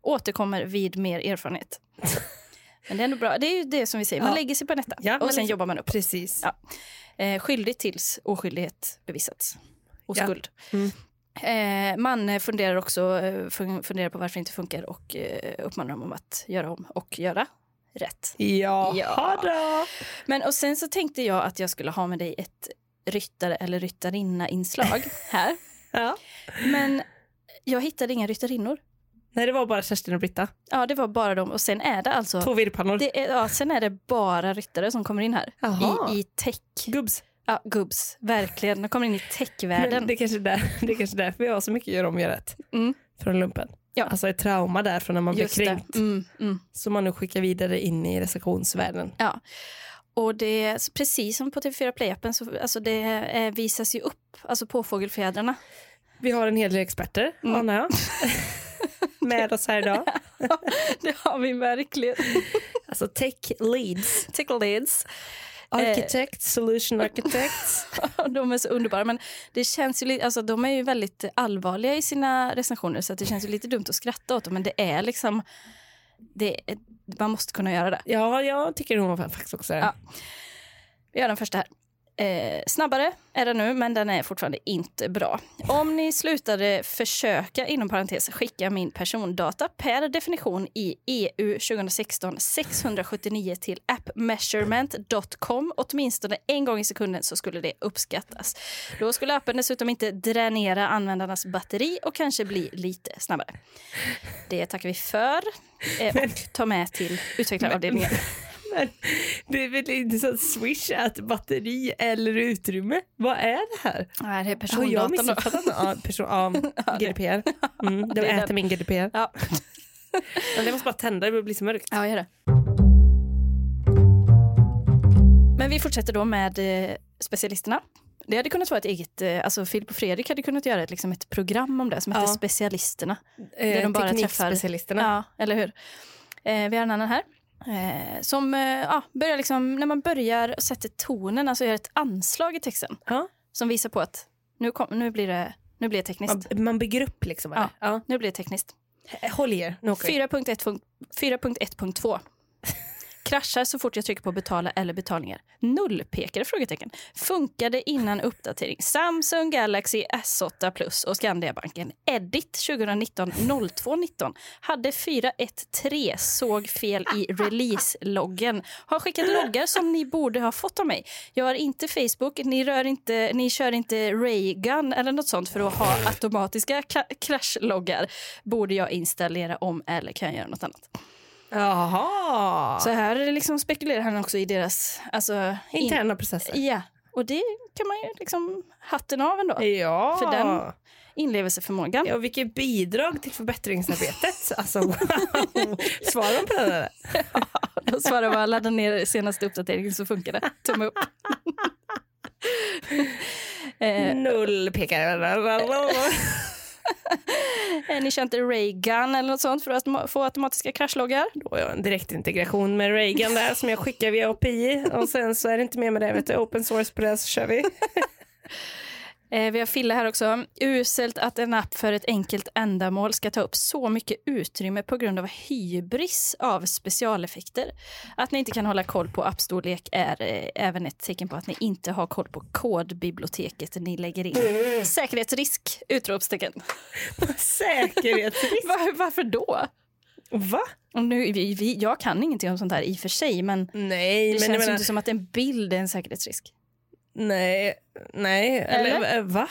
Speaker 1: Återkommer vid mer erfarenhet. Men det är ändå bra. Det är ju det som vi säger, man
Speaker 2: Ja.
Speaker 1: lägger sig på en etta
Speaker 2: Ja, man
Speaker 1: och sen
Speaker 2: lägger-
Speaker 1: jobbar man upp.
Speaker 2: Precis.
Speaker 1: Ja. Eh, skyldig tills oskyldighet bevisats. Och
Speaker 2: Ja.
Speaker 1: skuld.
Speaker 2: Mm.
Speaker 1: Eh, man eh, funderar också eh, fun- funderar på varför det inte funkar och eh, uppmanar dem om att göra om och göra rätt.
Speaker 2: Jaha
Speaker 1: Ja.
Speaker 2: då.
Speaker 1: Men och sen så tänkte jag att jag skulle ha med dig ett ryttare eller ryttarinna-inslag här.
Speaker 2: Ja.
Speaker 1: Men jag hittade inga ryttarinnor.
Speaker 2: Nej, det var bara Kerstin och Britta.
Speaker 1: Ja, det var bara dem. Och sen är det alltså...
Speaker 2: Två virrpannor.
Speaker 1: Det är, ja, sen är det bara ryttare som kommer in här.
Speaker 2: Jaha.
Speaker 1: I, I tech.
Speaker 2: Gubbs.
Speaker 1: Ja, gubbs. Verkligen. De kommer in i
Speaker 2: Men
Speaker 1: techvärlden.
Speaker 2: det är kanske är där, det är kanske därför vi har så mycket gör om gör rätt
Speaker 1: Mm.
Speaker 2: från lumpen.
Speaker 1: Ja.
Speaker 2: Alltså ett trauma där från när man blev kränkt
Speaker 1: Mm, mm.
Speaker 2: som man nu skickar vidare in i recensionsvärlden.
Speaker 1: Och det är s- precis som på TV4 Play-appen, så, alltså det eh, visas ju upp, alltså påfågelfjädrarna.
Speaker 2: Vi har en hel del experter,
Speaker 1: Mm.
Speaker 2: anar jag, med oss här idag.
Speaker 1: det har vi verkligen.
Speaker 2: Alltså tech leads, Eh.
Speaker 1: Tickle leads.
Speaker 2: architects, solution architects.
Speaker 1: De är så underbara. Men det känns ju lite, alltså de är ju väldigt allvarliga i sina recensioner så att det känns ju lite dumt att skratta åt dem. Men det är liksom, det är, man måste kunna göra det.
Speaker 2: Ja, jag tycker hon var faktiskt också det.
Speaker 1: Ja. Vi gör den första här. Eh, snabbare är den nu, men den är fortfarande inte bra. Om ni slutade försöka, inom parentes, skicka min persondata per definition i E EU 2016 679 till appmeasurement.com åtminstone en gång i sekunden så skulle det uppskattas. Då skulle appen dessutom inte dränera användarnas batteri och kanske bli lite snabbare. Det tackar vi för eh, och tar med till utvecklaravdelningen.
Speaker 2: Men det är väl inte så att swish är ett batteri eller utrymme? Vad är det här?
Speaker 1: Nej, det är
Speaker 2: Har jag
Speaker 1: persondatan. då.
Speaker 2: missuppfattat något? Ja, person, ja, GDPR. Mm, de
Speaker 1: Det är
Speaker 2: äter min GDPR.
Speaker 1: Ja. Eh,
Speaker 2: Men det måste bara tända, det blir så mörkt.
Speaker 1: Ja, gör det. Men vi fortsätter då med eh, specialisterna. Det hade kunnat vara ett eget, eh, alltså Filip och Fredrik hade kunnat göra ett, liksom ett program om det som heter
Speaker 2: Ja.
Speaker 1: specialisterna.
Speaker 2: Eh,
Speaker 1: de bara träffar-
Speaker 2: Teknikspecialisterna.
Speaker 1: Ja, eller hur? Eh, vi har en annan här. Eh, som eh, ja, börjar liksom, när man börjar och sätter tonen, alltså gör ett anslag i texten.
Speaker 2: Ja.
Speaker 1: Som visar på att nu, kom, nu blir det nu blir det tekniskt.
Speaker 2: Man, man bygger upp liksom.
Speaker 1: Ja.
Speaker 2: eller? Ja.
Speaker 1: Nu blir det tekniskt.
Speaker 2: Håll i er, nu åker vi.
Speaker 1: 4.1.2. Kraschar så fort jag trycker på betala eller betalningar. Nullpekare? Frågetecken. Funkade innan uppdatering. Samsung Galaxy S8 Plus och Skandiabanken. Edit 2019 0219. Hade 413. Såg fel i release-loggen. Har skickat loggar som ni borde ha fått av mig. Jag har inte Facebook. Ni, rör inte, ni kör inte Raygun eller något sånt för att ha automatiska ka- kraschloggar. Borde jag installera om eller kan jag göra något annat?
Speaker 2: Jaha.
Speaker 1: Så här liksom spekulerar han också i deras... Alltså, in-
Speaker 2: Interna processer.
Speaker 1: Ja, och det kan man ju liksom hatten av ändå.
Speaker 2: Ja.
Speaker 1: För den- Inlevelseförmågan.
Speaker 2: ja, vilket bidrag till förbättringsarbetet. Alltså, wow. Svarar de på den? eller?
Speaker 1: Jag svarar bara ladda ner senaste uppdateringen så funkar det. Tumme upp. eh,
Speaker 2: Null pekar.
Speaker 1: eh, ni kör inte Raygun eller något sånt för att ma- få automatiska kraschloggar?
Speaker 2: Då har jag en direktintegration med Reagan där som jag skickar via API och sen så är det inte mer med det. Vet du, open source på det så kör vi.
Speaker 1: Eh, vi har Fille här också. Uselt att en app för ett enkelt ändamål ska ta upp så mycket utrymme på grund av hybris av specialeffekter. Att ni inte kan hålla koll på appstorlek är eh, även ett tecken på att ni inte har koll på kodbiblioteket ni lägger in. Säkerhetsrisk! Utropstecken.
Speaker 2: Säkerhetsrisk.
Speaker 1: Var, varför då?
Speaker 2: Va?
Speaker 1: Och nu, vi, vi, jag kan ingenting om sånt här i och för sig, men det
Speaker 2: Nej, men
Speaker 1: känns
Speaker 2: jag
Speaker 1: ju
Speaker 2: menar,
Speaker 1: inte som att en bild är en säkerhetsrisk.
Speaker 2: nej, nej, eller,
Speaker 1: Eller?
Speaker 2: eh, va?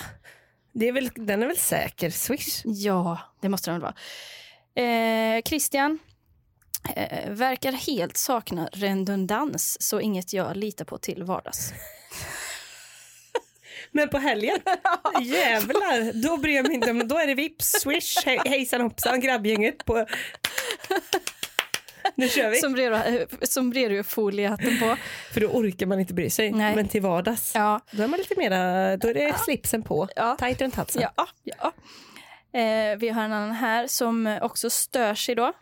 Speaker 2: Det är väl, den är väl säker, Swish?
Speaker 1: Ja, det måste den väl vara. Eh, Christian eh, verkar helt sakna redundans, så inget jag litar på till vardags.
Speaker 2: Men på helgen, jävlar, då bryr jag mig inte om Då är det vips, Swish, hej, hejsan hoppsan, grabbgänget på... Nu kör vi.
Speaker 1: Sombrero- eh, Sombrero-foliehatten på.
Speaker 2: För då orkar man inte bry sig.
Speaker 1: Nej.
Speaker 2: Men till vardags,
Speaker 1: Ja,
Speaker 2: då är man lite mera, då är det slipsen på.
Speaker 1: Ja.
Speaker 2: Tight runt halsen.
Speaker 1: ja, ja. Eh, vi har en annan här som också stör sig då.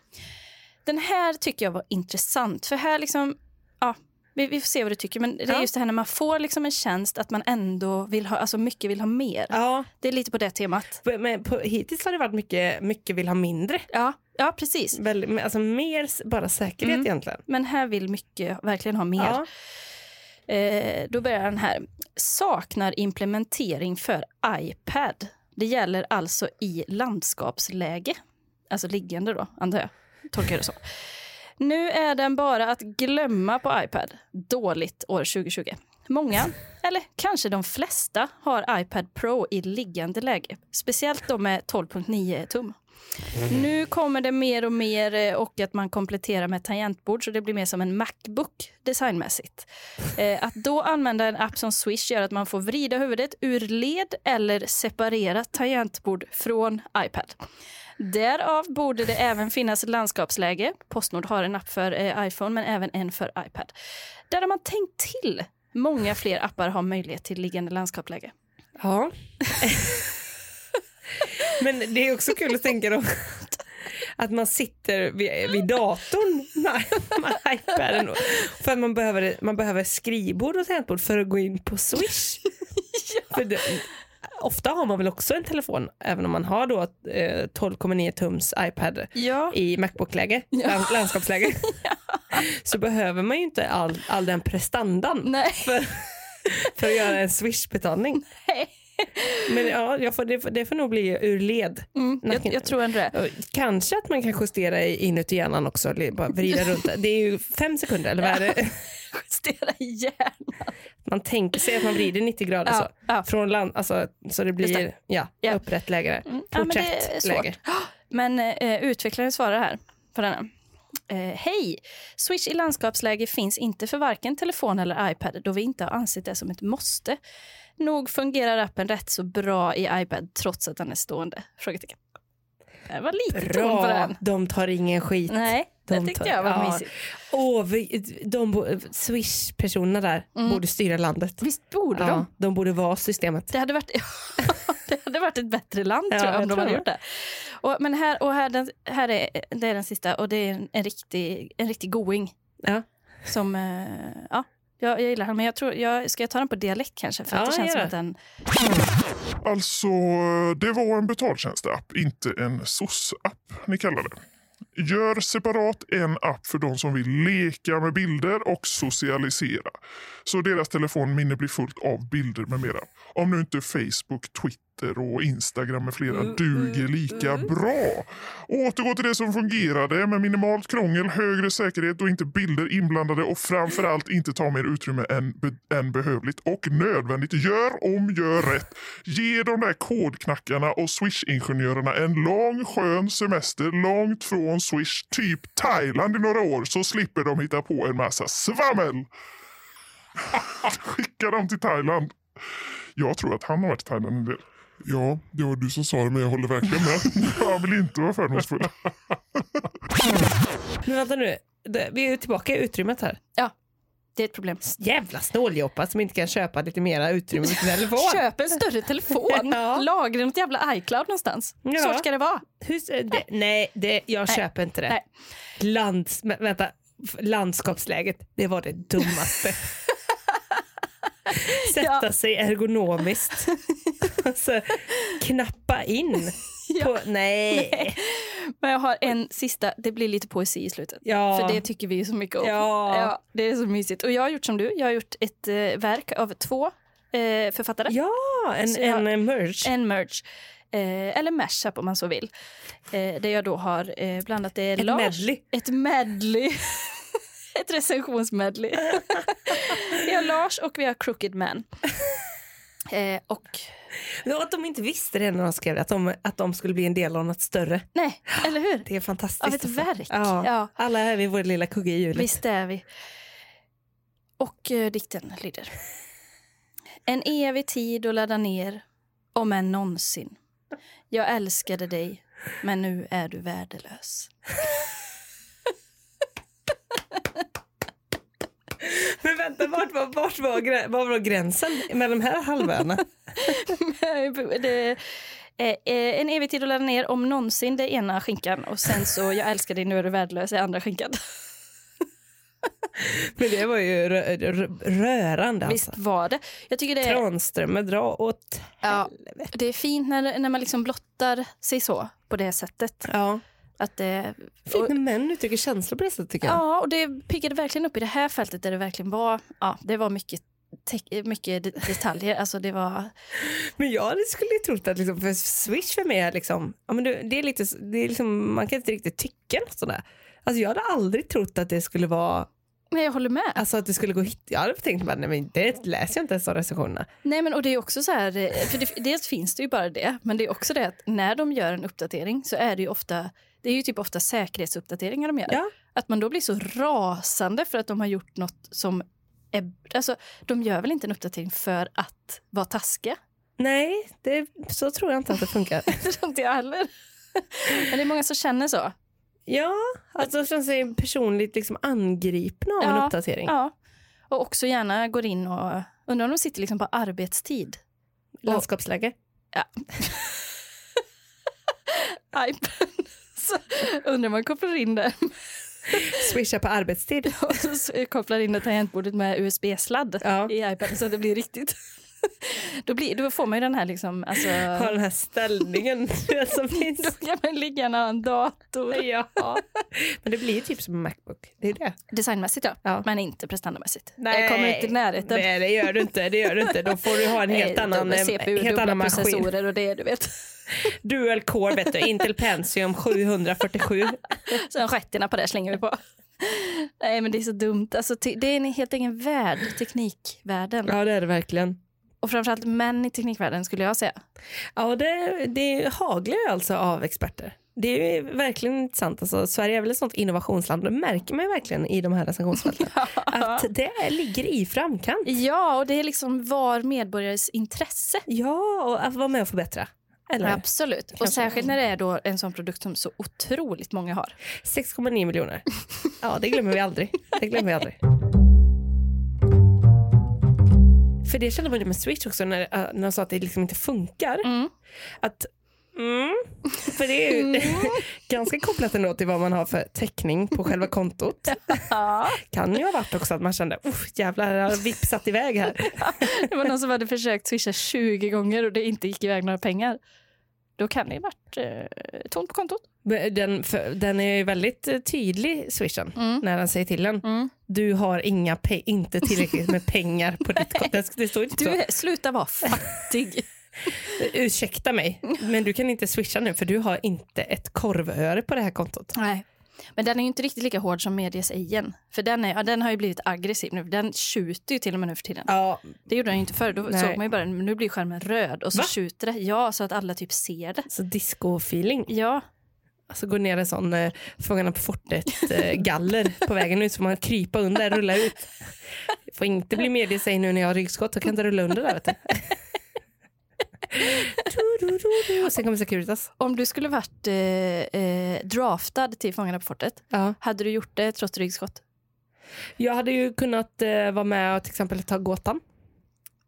Speaker 1: Den här tycker jag var intressant, för här liksom... Ja, vi, vi får se vad du tycker, men det är
Speaker 2: Ja.
Speaker 1: just det här när man får liksom en tjänst att man ändå vill ha, alltså mycket vill ha mer.
Speaker 2: ja.
Speaker 1: Det är lite på det temat.
Speaker 2: På- Men på, hittills har det varit mycket, mycket vill ha mindre.
Speaker 1: Ja, ja precis.
Speaker 2: Väl, men alltså mer s- bara säkerhet
Speaker 1: Mm.
Speaker 2: egentligen.
Speaker 1: Men här vill mycket verkligen ha mer.
Speaker 2: Ja.
Speaker 1: Eh, då börjar den här. Saknar implementering för iPad. Det gäller alltså i landskapsläge. Alltså liggande då, antar jag. Tolkar jag det så. Nu är den bara att glömma på iPad. Dåligt år 2020. Många, eller kanske de flesta, har iPad Pro i liggande läge. Speciellt de med 12.9 tum. Nu kommer det mer och mer eh, och att man kompletterar med tangentbord så det blir mer som en Macbook designmässigt. Eh, att då använda en app som Swish gör att man får vrida huvudet ur led eller separera tangentbord från iPad. Därav borde det även finnas landskapsläge. Postnord har en app för eh, iPhone men även en för iPad. Där har man tänkt till. Många fler appar har möjlighet till liggande landskapsläge.
Speaker 2: Ja. men det är också kul att tänka då att man sitter vid, vid datorn med, med iPaden. och- För att man behöver, man behöver skrivbord och tangentbord för att gå in på Swish. för det, ofta har man väl också en telefon, även om man har då eh, 12,9 tums iPad.
Speaker 1: Ja.
Speaker 2: i Macbook-läge, land- landskapsläge, så behöver man ju inte all, all den prestandan
Speaker 1: Nej.
Speaker 2: för, för att göra en Swish-betalning.
Speaker 1: Nej.
Speaker 2: Men ja, jag får, det, får- det får nog bli ur led.
Speaker 1: Mm,
Speaker 2: Nej.
Speaker 1: jag, jag tror ändå det.
Speaker 2: Och Kanske att man kan justera i- inuti hjärnan också, li- bara vrida runt det. Det är ju fem sekunder, eller vad är det?
Speaker 1: Justera igen.
Speaker 2: Man tänker sig att man vrider 90 grader
Speaker 1: Ja,
Speaker 2: så.
Speaker 1: ja.
Speaker 2: Från land, alltså, så det blir
Speaker 1: Just
Speaker 2: Ja,
Speaker 1: Ja.
Speaker 2: upprätt läge. där.
Speaker 1: Mm, ja, men det är
Speaker 2: Porträtt läge.
Speaker 1: Men eh, utvecklaren svarar här på denna. Eh, Hej! Swish i landskapsläge finns inte för varken telefon eller iPad då vi inte har ansett det som ett måste. Nog fungerar appen rätt så bra i iPad trots att den är stående? Frågetecken. Det var lite ton på
Speaker 2: Bra,
Speaker 1: den.
Speaker 2: de tar ingen skit.
Speaker 1: Nej, det
Speaker 2: De
Speaker 1: tyckte
Speaker 2: tar-
Speaker 1: jag var
Speaker 2: ja.
Speaker 1: mysigt.
Speaker 2: Åh, vi, de, bo- Swish-personerna där borde styra landet.
Speaker 1: Visst Mm. borde
Speaker 2: Ja,
Speaker 1: de?
Speaker 2: de borde vara systemet.
Speaker 1: Det hade varit, det hade varit ett bättre land
Speaker 2: Ja,
Speaker 1: tror jag, om
Speaker 2: jag
Speaker 1: de
Speaker 2: tror
Speaker 1: hade
Speaker 2: det.
Speaker 1: gjort det. Och, men här, och här, den, här är, det är den sista och det är en, en, riktig, en riktig going.
Speaker 2: Ja.
Speaker 1: Som, eh, ja, jag, jag gillar den, men jag tror, jag, ska jag ta den på dialekt kanske? För
Speaker 2: Ja,
Speaker 1: att det känns
Speaker 2: gör
Speaker 1: som
Speaker 2: det.
Speaker 1: att den...
Speaker 4: Alltså, det var en betaltjänsteapp, inte en SOS-app ni kallar det. Gör separat en app för de som vill leka med bilder och socialisera. Så deras telefonminne blir fullt av bilder med mera. Om nu inte Facebook, Twitter och Instagram med flera duger lika bra. Återgå till det som fungerade med minimalt krångel, högre säkerhet och inte bilder inblandade och framförallt inte ta mer utrymme än, be- än behövligt och nödvändigt. Gör om, gör rätt. Ge de där kodknackarna och Swish-ingenjörerna en lång skön semester långt från Swish, typ Thailand i några år så slipper de hitta på en massa svammel. Skicka dem till Thailand. Jag tror att han har varit i Thailand en del.
Speaker 5: Ja, det var du som sa det men jag håller verkligen med.
Speaker 4: Han vill inte vara fördomsfull.
Speaker 2: Men vänta nu, det- vi är ju tillbaka i utrymmet här.
Speaker 1: Det är ett problem.
Speaker 2: Jävla snåljåpa som inte kan köpa lite mera utrymme för sin telefon.
Speaker 1: Köp en större telefon.
Speaker 2: Ja.
Speaker 1: Lagra något jävla iCloud någonstans.
Speaker 2: Ja.
Speaker 1: Så ska det vara.
Speaker 2: Hur, eh, det, nej, det, jag
Speaker 1: Nej.
Speaker 2: köper inte det.
Speaker 1: Nej.
Speaker 2: Lands, men vänta, f- landskapsläget, det var det dummaste. Sätta
Speaker 1: Ja.
Speaker 2: sig ergonomiskt. alltså, knappa in.
Speaker 1: Ja.
Speaker 2: På, nej.
Speaker 1: Men jag har en sista. Det blir lite poesi i slutet.
Speaker 2: Ja.
Speaker 1: För det typ- tycker vi ju så mycket om.
Speaker 2: Ja.
Speaker 1: Ja, det är så mysigt. Och jag har gjort som du. Jag har gjort ett eh, verk av två eh, författare.
Speaker 2: ja, en, eh,
Speaker 1: Så jag-
Speaker 2: en merge.
Speaker 1: En merge. Eh, eller mashup om man så vill. Eh, där jag då har eh, blandat det
Speaker 2: Ett
Speaker 1: Lars.
Speaker 2: medley.
Speaker 1: Ett medley. ett recensionsmedley. vi har Lars och vi har Crooked Man. Eh, och
Speaker 2: Ja, Att de inte visste det när de skrev det, att de, att de skulle bli en del av något större.
Speaker 1: nej, eller hur?
Speaker 2: Det är fantastiskt.
Speaker 1: Av ett verk.
Speaker 2: Ja.
Speaker 1: Ja.
Speaker 2: Alla är vid vår lilla kugge i hjulet.
Speaker 1: Visst är vi. Och eh, dikten lyder. En evig tid att ladda ner, om än någonsin. Jag älskade dig, men nu är du värdelös.
Speaker 2: Men vänta, vart var, vart var, grä- var var gränsen med de här halvöarna?
Speaker 1: det, eh, eh, en evig tid att ladda ner, om någonsin, det är ena skinkan. Och sen så, jag älskar dig, nu är du värdelös, är andra skinkan.
Speaker 2: Men det var ju rö, rö, rörande alltså.
Speaker 1: Visst var det. Jag tycker det är,
Speaker 2: Tranströmer, dra åt...
Speaker 1: ja, det är fint när, när man liksom blottar sig så, på det sättet.
Speaker 2: Ja.
Speaker 1: Att det,
Speaker 2: Fint när män uttrycker känslor på det sättet tycker jag.
Speaker 1: Ja, och det piggade verkligen upp i det här fältet där det verkligen var, ja, det var mycket, te- mycket de- detaljer. Alltså det var,
Speaker 2: Men jag hade- skulle ju trott att liksom, för Swish för mig är liksom, ja, men det, det är lite, det är liksom, man kan inte riktigt tycka något sådär. Alltså jag hade aldrig trott att det skulle vara,
Speaker 1: men jag håller med.
Speaker 2: alltså att det skulle gå hit. Jag hade tänkt bara, nej men det läser jag inte ens av recensionerna.
Speaker 1: Nej men och det är också så här, eh, för det, dels finns det ju bara det, men det är också det att när de gör en uppdatering så är det ju ofta, det är ju typ ofta säkerhetsuppdateringar de gör.
Speaker 2: Ja.
Speaker 1: Att man då blir så rasande för att de har gjort något som är, alltså de gör väl inte en uppdatering för att vara taskiga?
Speaker 2: Nej, det, så tror jag inte att det funkar.
Speaker 1: Det tror inte jag heller. Men det är många som känner så.
Speaker 2: ja, alltså känns sig personligt liksom angripna av en
Speaker 1: Ja,
Speaker 2: uppdatering.
Speaker 1: Ja. Och också gärna går in och undrar om de sitter liksom på arbetstid.
Speaker 2: Landskapsläge.
Speaker 1: Ipen. Så undrar om man kopplar in det
Speaker 2: Swisha på arbetstid.
Speaker 1: och så s- kopplar in det tangentbordet med USB-sladd
Speaker 2: Ja.
Speaker 1: i iPaden så att det blir riktigt. Då, blir, då får man ju den här liksom, alltså,
Speaker 2: Ha den här ställningen som
Speaker 1: då
Speaker 2: finns.
Speaker 1: kan man ligga gärna ha en dator.
Speaker 2: ja. Men det blir ju typ som en Macbook. Det är det.
Speaker 1: Designmässigt ja,
Speaker 2: Ja.
Speaker 1: men inte prestandamässigt. Jag kommer inte i närheten.
Speaker 2: Nej, det gör du inte. Det gör du inte. Då får du ha en helt
Speaker 1: Eh,
Speaker 2: annan,
Speaker 1: dubbel
Speaker 2: eh,
Speaker 1: CPU,
Speaker 2: helt
Speaker 1: dubbla
Speaker 2: annan maskin.
Speaker 1: processorer och det du vet.
Speaker 2: Dual core, vet du. Intel Pentium 747.
Speaker 1: Så stjärterna på det slänger vi på. Nej, men det är så dumt. Alltså, te- det är en helt egen värld, teknikvärlden.
Speaker 2: Ja, det är det verkligen.
Speaker 1: Och framförallt män i teknikvärlden skulle jag säga.
Speaker 2: Ja, det, det haglar ju alltså av experter. Det är ju verkligen intressant. Alltså, Sverige är väl ett sånt innovationsland. Det märker man ju verkligen i de här recensionsfälten. Att det är- ligger i framkant.
Speaker 1: Ja, och det är liksom var medborgares intresse.
Speaker 2: Ja, och att vara med och förbättra. Eller?
Speaker 1: Absolut. Och särskilt när det är då en sån produkt som så otroligt många har.
Speaker 2: 6,9 miljoner. Ja, det glömmer vi aldrig. Det glömmer vi aldrig. För det kände man ju med Switch också när, äh, när de sa att det liksom inte funkar.
Speaker 1: Mm.
Speaker 2: Att, mm, för det är ju ganska kopplat ändå till vad man har för täckning på själva kontot.
Speaker 1: Ja.
Speaker 2: Kan ju ha varit också att man kände, "Uff, jävlar, jag har vipsat iväg här.
Speaker 1: Det var någon som hade försökt swisha 20 gånger och det inte gick iväg några pengar. Då kan det ju varit eh, tomt på kontot.
Speaker 2: Men Den, för, den är ju väldigt eh, tydlig, swishen,
Speaker 1: Mm.
Speaker 2: när han säger till den.
Speaker 1: Mm.
Speaker 2: Du har inga pe- inte tillräckligt med pengar på ditt konto. Det- Det står ju typ
Speaker 1: Du,
Speaker 2: så.
Speaker 1: är- sluta vara fattig.
Speaker 2: Ursäkta mig, men du kan inte swisha nu för du har inte ett korvöre på det här kontot.
Speaker 1: Nej. Men den är ju inte riktigt lika hård som mediesejen. För den, är, ja, den har ju blivit aggressiv nu. Den tjuter ju till och med nu för tiden.
Speaker 2: Ja,
Speaker 1: Det gjorde den ju inte förr. Då
Speaker 2: Nej.
Speaker 1: såg man ju bara, nu blir skärmen röd och så
Speaker 2: Va?
Speaker 1: tjuter det. Ja, så att alla typ ser det.
Speaker 2: så disco-feeling.
Speaker 1: Ja,
Speaker 2: Alltså gå ner en sån eh, Fångarna på fortet-galler på vägen ut så man krypa under, rulla ut. Får inte bli med i sig nu när jag har ryggskott, jag kan inte rulla under där vet du. Tu-ru-ru-ru. Och sen kommer Securitas.
Speaker 1: om du skulle varit eh, eh, draftad till Fångarna på fortet,
Speaker 2: Ja.
Speaker 1: hade du gjort det trots ryggskott?
Speaker 2: Jag hade ju kunnat eh, vara med och till exempel ta gåtan.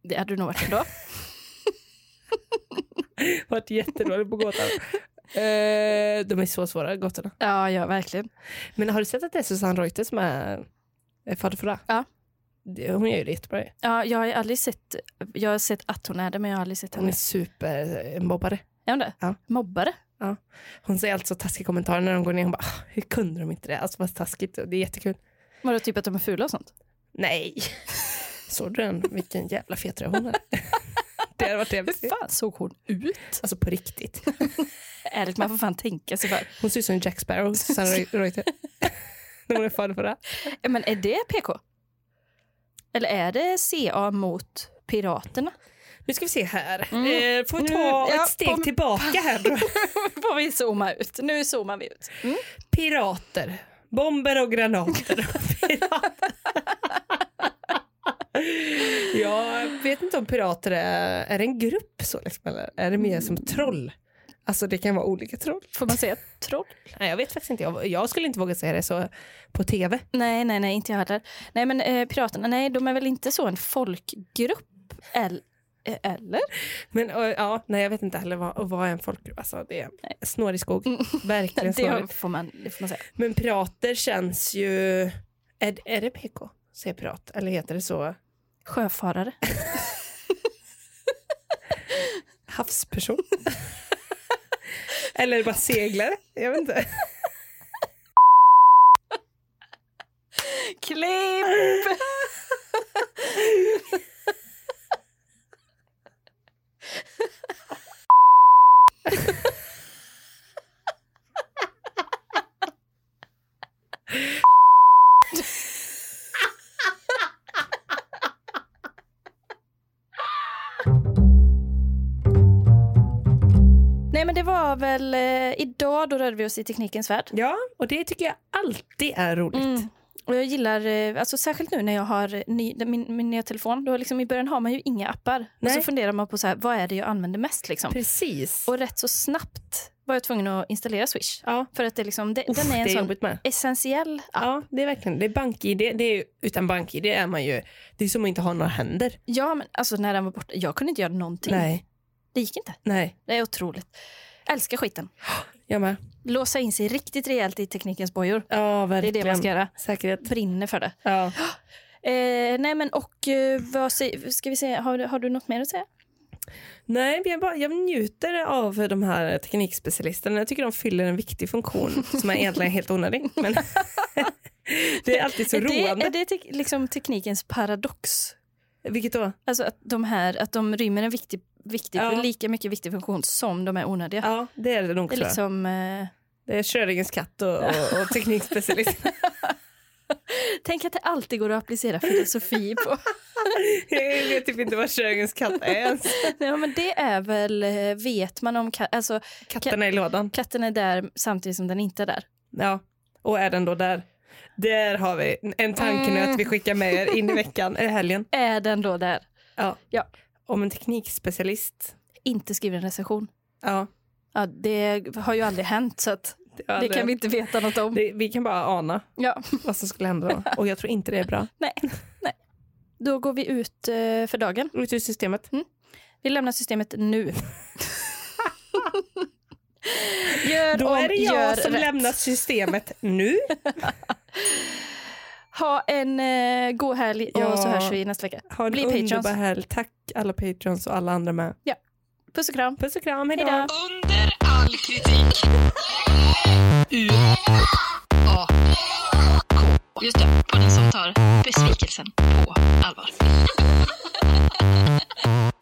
Speaker 1: Det hade du nog varit ändå.
Speaker 2: Varit jättedålig på gåtan. Eh, de är så svåra gåtorna.
Speaker 1: ja, ja, verkligen.
Speaker 2: Men har du sett att det är Susanne Reuter som är eh, fader för det?
Speaker 1: Ja.
Speaker 2: Det- Hon gör ju det jättebra.
Speaker 1: Ja, jag har ju aldrig sett, jag har sett att hon är det, men jag har aldrig sett
Speaker 2: Hon är
Speaker 1: henne.
Speaker 2: supermobbare.
Speaker 1: Är hon det?
Speaker 2: Ja.
Speaker 1: Mobbare?
Speaker 2: Hon säger alltid så taskiga kommentarer när de går ner. Hon bara, "Ah, hur kunde de inte det? Alltså vad taskigt. Och Det är jättekul.
Speaker 1: Vadå, typ att de är fula och sånt?
Speaker 2: Nej. Såg du den? Vilken jävla fet röv hon hade. Det hade varit
Speaker 1: Hur
Speaker 2: trevligt.
Speaker 1: fan såg hon ut?
Speaker 2: Alltså på riktigt.
Speaker 1: Ärligt, man får fan tänka sig för.
Speaker 2: Hon ser ut som Jack Sparrow, Susanne Reu- Reuter. När hon är fader för det.
Speaker 1: Ja, Men är det PK? Eller är det CA mot Piraterna?
Speaker 2: Nu ska vi se här.
Speaker 1: Mm.
Speaker 2: Eh, får vi ta
Speaker 1: Nu- ja,
Speaker 2: ett steg
Speaker 1: på-
Speaker 2: tillbaka här då.
Speaker 1: Nu får vi zooma ut. Nu zoomar vi ut. Mm.
Speaker 2: Pirater. Bomber och granater. Pirater. Jag vet inte om pirater är, är det en grupp så liksom, eller är det mer som troll? Alltså det kan vara olika troll.
Speaker 1: Får man säga troll?
Speaker 2: Nej, jag vet faktiskt inte. Jag, jag skulle inte våga säga det så på tv.
Speaker 1: Nej, nej, nej, inte jag heller. Nej, men eh, Piraterna, nej, de är väl inte så en folkgrupp? El- eh, eller?
Speaker 2: Men eh, ja, nej, jag vet inte heller vad, vad är en folkgrupp. Alltså, det är snårig skog. Verkligen
Speaker 1: Det,
Speaker 2: snårig.
Speaker 1: får man, det får man säga.
Speaker 2: Men pirater känns ju... Är, är det PK? Säger pirat? Eller heter det så?
Speaker 1: Sjöfarare.
Speaker 2: havsperson. Eller bara seglare. Jag vet inte.
Speaker 1: Klipp! Nej men det var väl eh, idag då rörde vi oss i teknikens värld.
Speaker 2: Ja, och det tycker jag alltid är roligt.
Speaker 1: Mm. Och jag gillar, eh, alltså särskilt nu när jag har eh, ny, min, min nya telefon, då liksom i början har man ju inga appar.
Speaker 2: Nej.
Speaker 1: Och så funderar man på så här, vad är det jag använder mest liksom.
Speaker 2: Precis.
Speaker 1: Och rätt så snabbt var jag tvungen att installera Swish.
Speaker 2: ja.
Speaker 1: För att det, liksom, det,
Speaker 2: Uff,
Speaker 1: den är en
Speaker 2: det är
Speaker 1: sån
Speaker 2: jobbigt med.
Speaker 1: essentiell app.
Speaker 2: Ja, det är verkligen. Det är bank-id. Det är ju, utan bank-id är man ju... Det är som att inte ha några händer.
Speaker 1: Ja men alltså när den var borta, jag kunde inte göra någonting.
Speaker 2: Nej,
Speaker 1: Det gick inte.
Speaker 2: nej.
Speaker 1: Det är otroligt. Älskar skiten.
Speaker 2: Jag med.
Speaker 1: Låsa in sig riktigt rejält i teknikens bojor.
Speaker 2: Ja,
Speaker 1: Det är
Speaker 2: verkligen.
Speaker 1: det man ska göra.
Speaker 2: Säkerhet.
Speaker 1: Brinner för det.
Speaker 2: Ja.
Speaker 1: Eh, nej men och eh, vad säger, ska vi säga, har, du- har du något mer att säga?
Speaker 2: Nej, men jag, bara, jag njuter av de här teknikspecialisterna. Jag tycker de fyller en viktig funktion som är egentligen helt onödig. Men det är alltid så
Speaker 1: är det,
Speaker 2: roande.
Speaker 1: är det tek- liksom teknikens paradox?
Speaker 2: Vilket då?
Speaker 1: Alltså att de här, att de rymmer en viktig, viktig
Speaker 2: Ja.
Speaker 1: lika mycket viktig funktion som de är onödiga.
Speaker 2: Ja, det är det nog.
Speaker 1: Det är
Speaker 2: tror jag.
Speaker 1: liksom eh,
Speaker 2: Det är Schrödingers katt och, och, och teknikspecialist.
Speaker 1: Tänk att det alltid går att applicera filosofi på.
Speaker 2: jag vet typ inte vad Schrödingers katt är ens.
Speaker 1: Nej, men det är väl, eh, vet man om ka- alltså,
Speaker 2: Katten är i lådan.
Speaker 1: katten är där samtidigt som den inte är där.
Speaker 2: Ja. Och är den då där? Där har vi en tankenöt vi skickar med er in i veckan, eller helgen.
Speaker 1: Är den då där?
Speaker 2: Ja.
Speaker 1: Ja.
Speaker 2: Om en teknikspecialist.
Speaker 1: Inte skriver en recension.
Speaker 2: Ja.
Speaker 1: Ja, det har ju aldrig hänt så att
Speaker 2: ja,
Speaker 1: det kan vi inte veta något om.
Speaker 2: det, vi kan bara ana
Speaker 1: Ja,
Speaker 2: vad som skulle hända då. Och jag tror inte det är bra.
Speaker 1: då går vi ut eh, för dagen.
Speaker 2: Ut ur systemet.
Speaker 1: Vi lämnar systemet nu. gör
Speaker 2: Då
Speaker 1: om,
Speaker 2: är det
Speaker 1: gör
Speaker 2: jag som
Speaker 1: rätt.
Speaker 2: lämnar systemet nu.
Speaker 1: Ha en eh, god helg och
Speaker 2: Ja.
Speaker 1: så hörs vi nästa vecka.
Speaker 2: Ha en
Speaker 1: Bli patrons.
Speaker 2: underbar helg. Tack alla patrons och alla andra med.
Speaker 1: Puss och kram.
Speaker 2: Puss och kram, hejdå.
Speaker 1: Hejdå.
Speaker 3: Under all
Speaker 1: all kritik. U A K. Just det, podden som tar besvikelsen på allvar.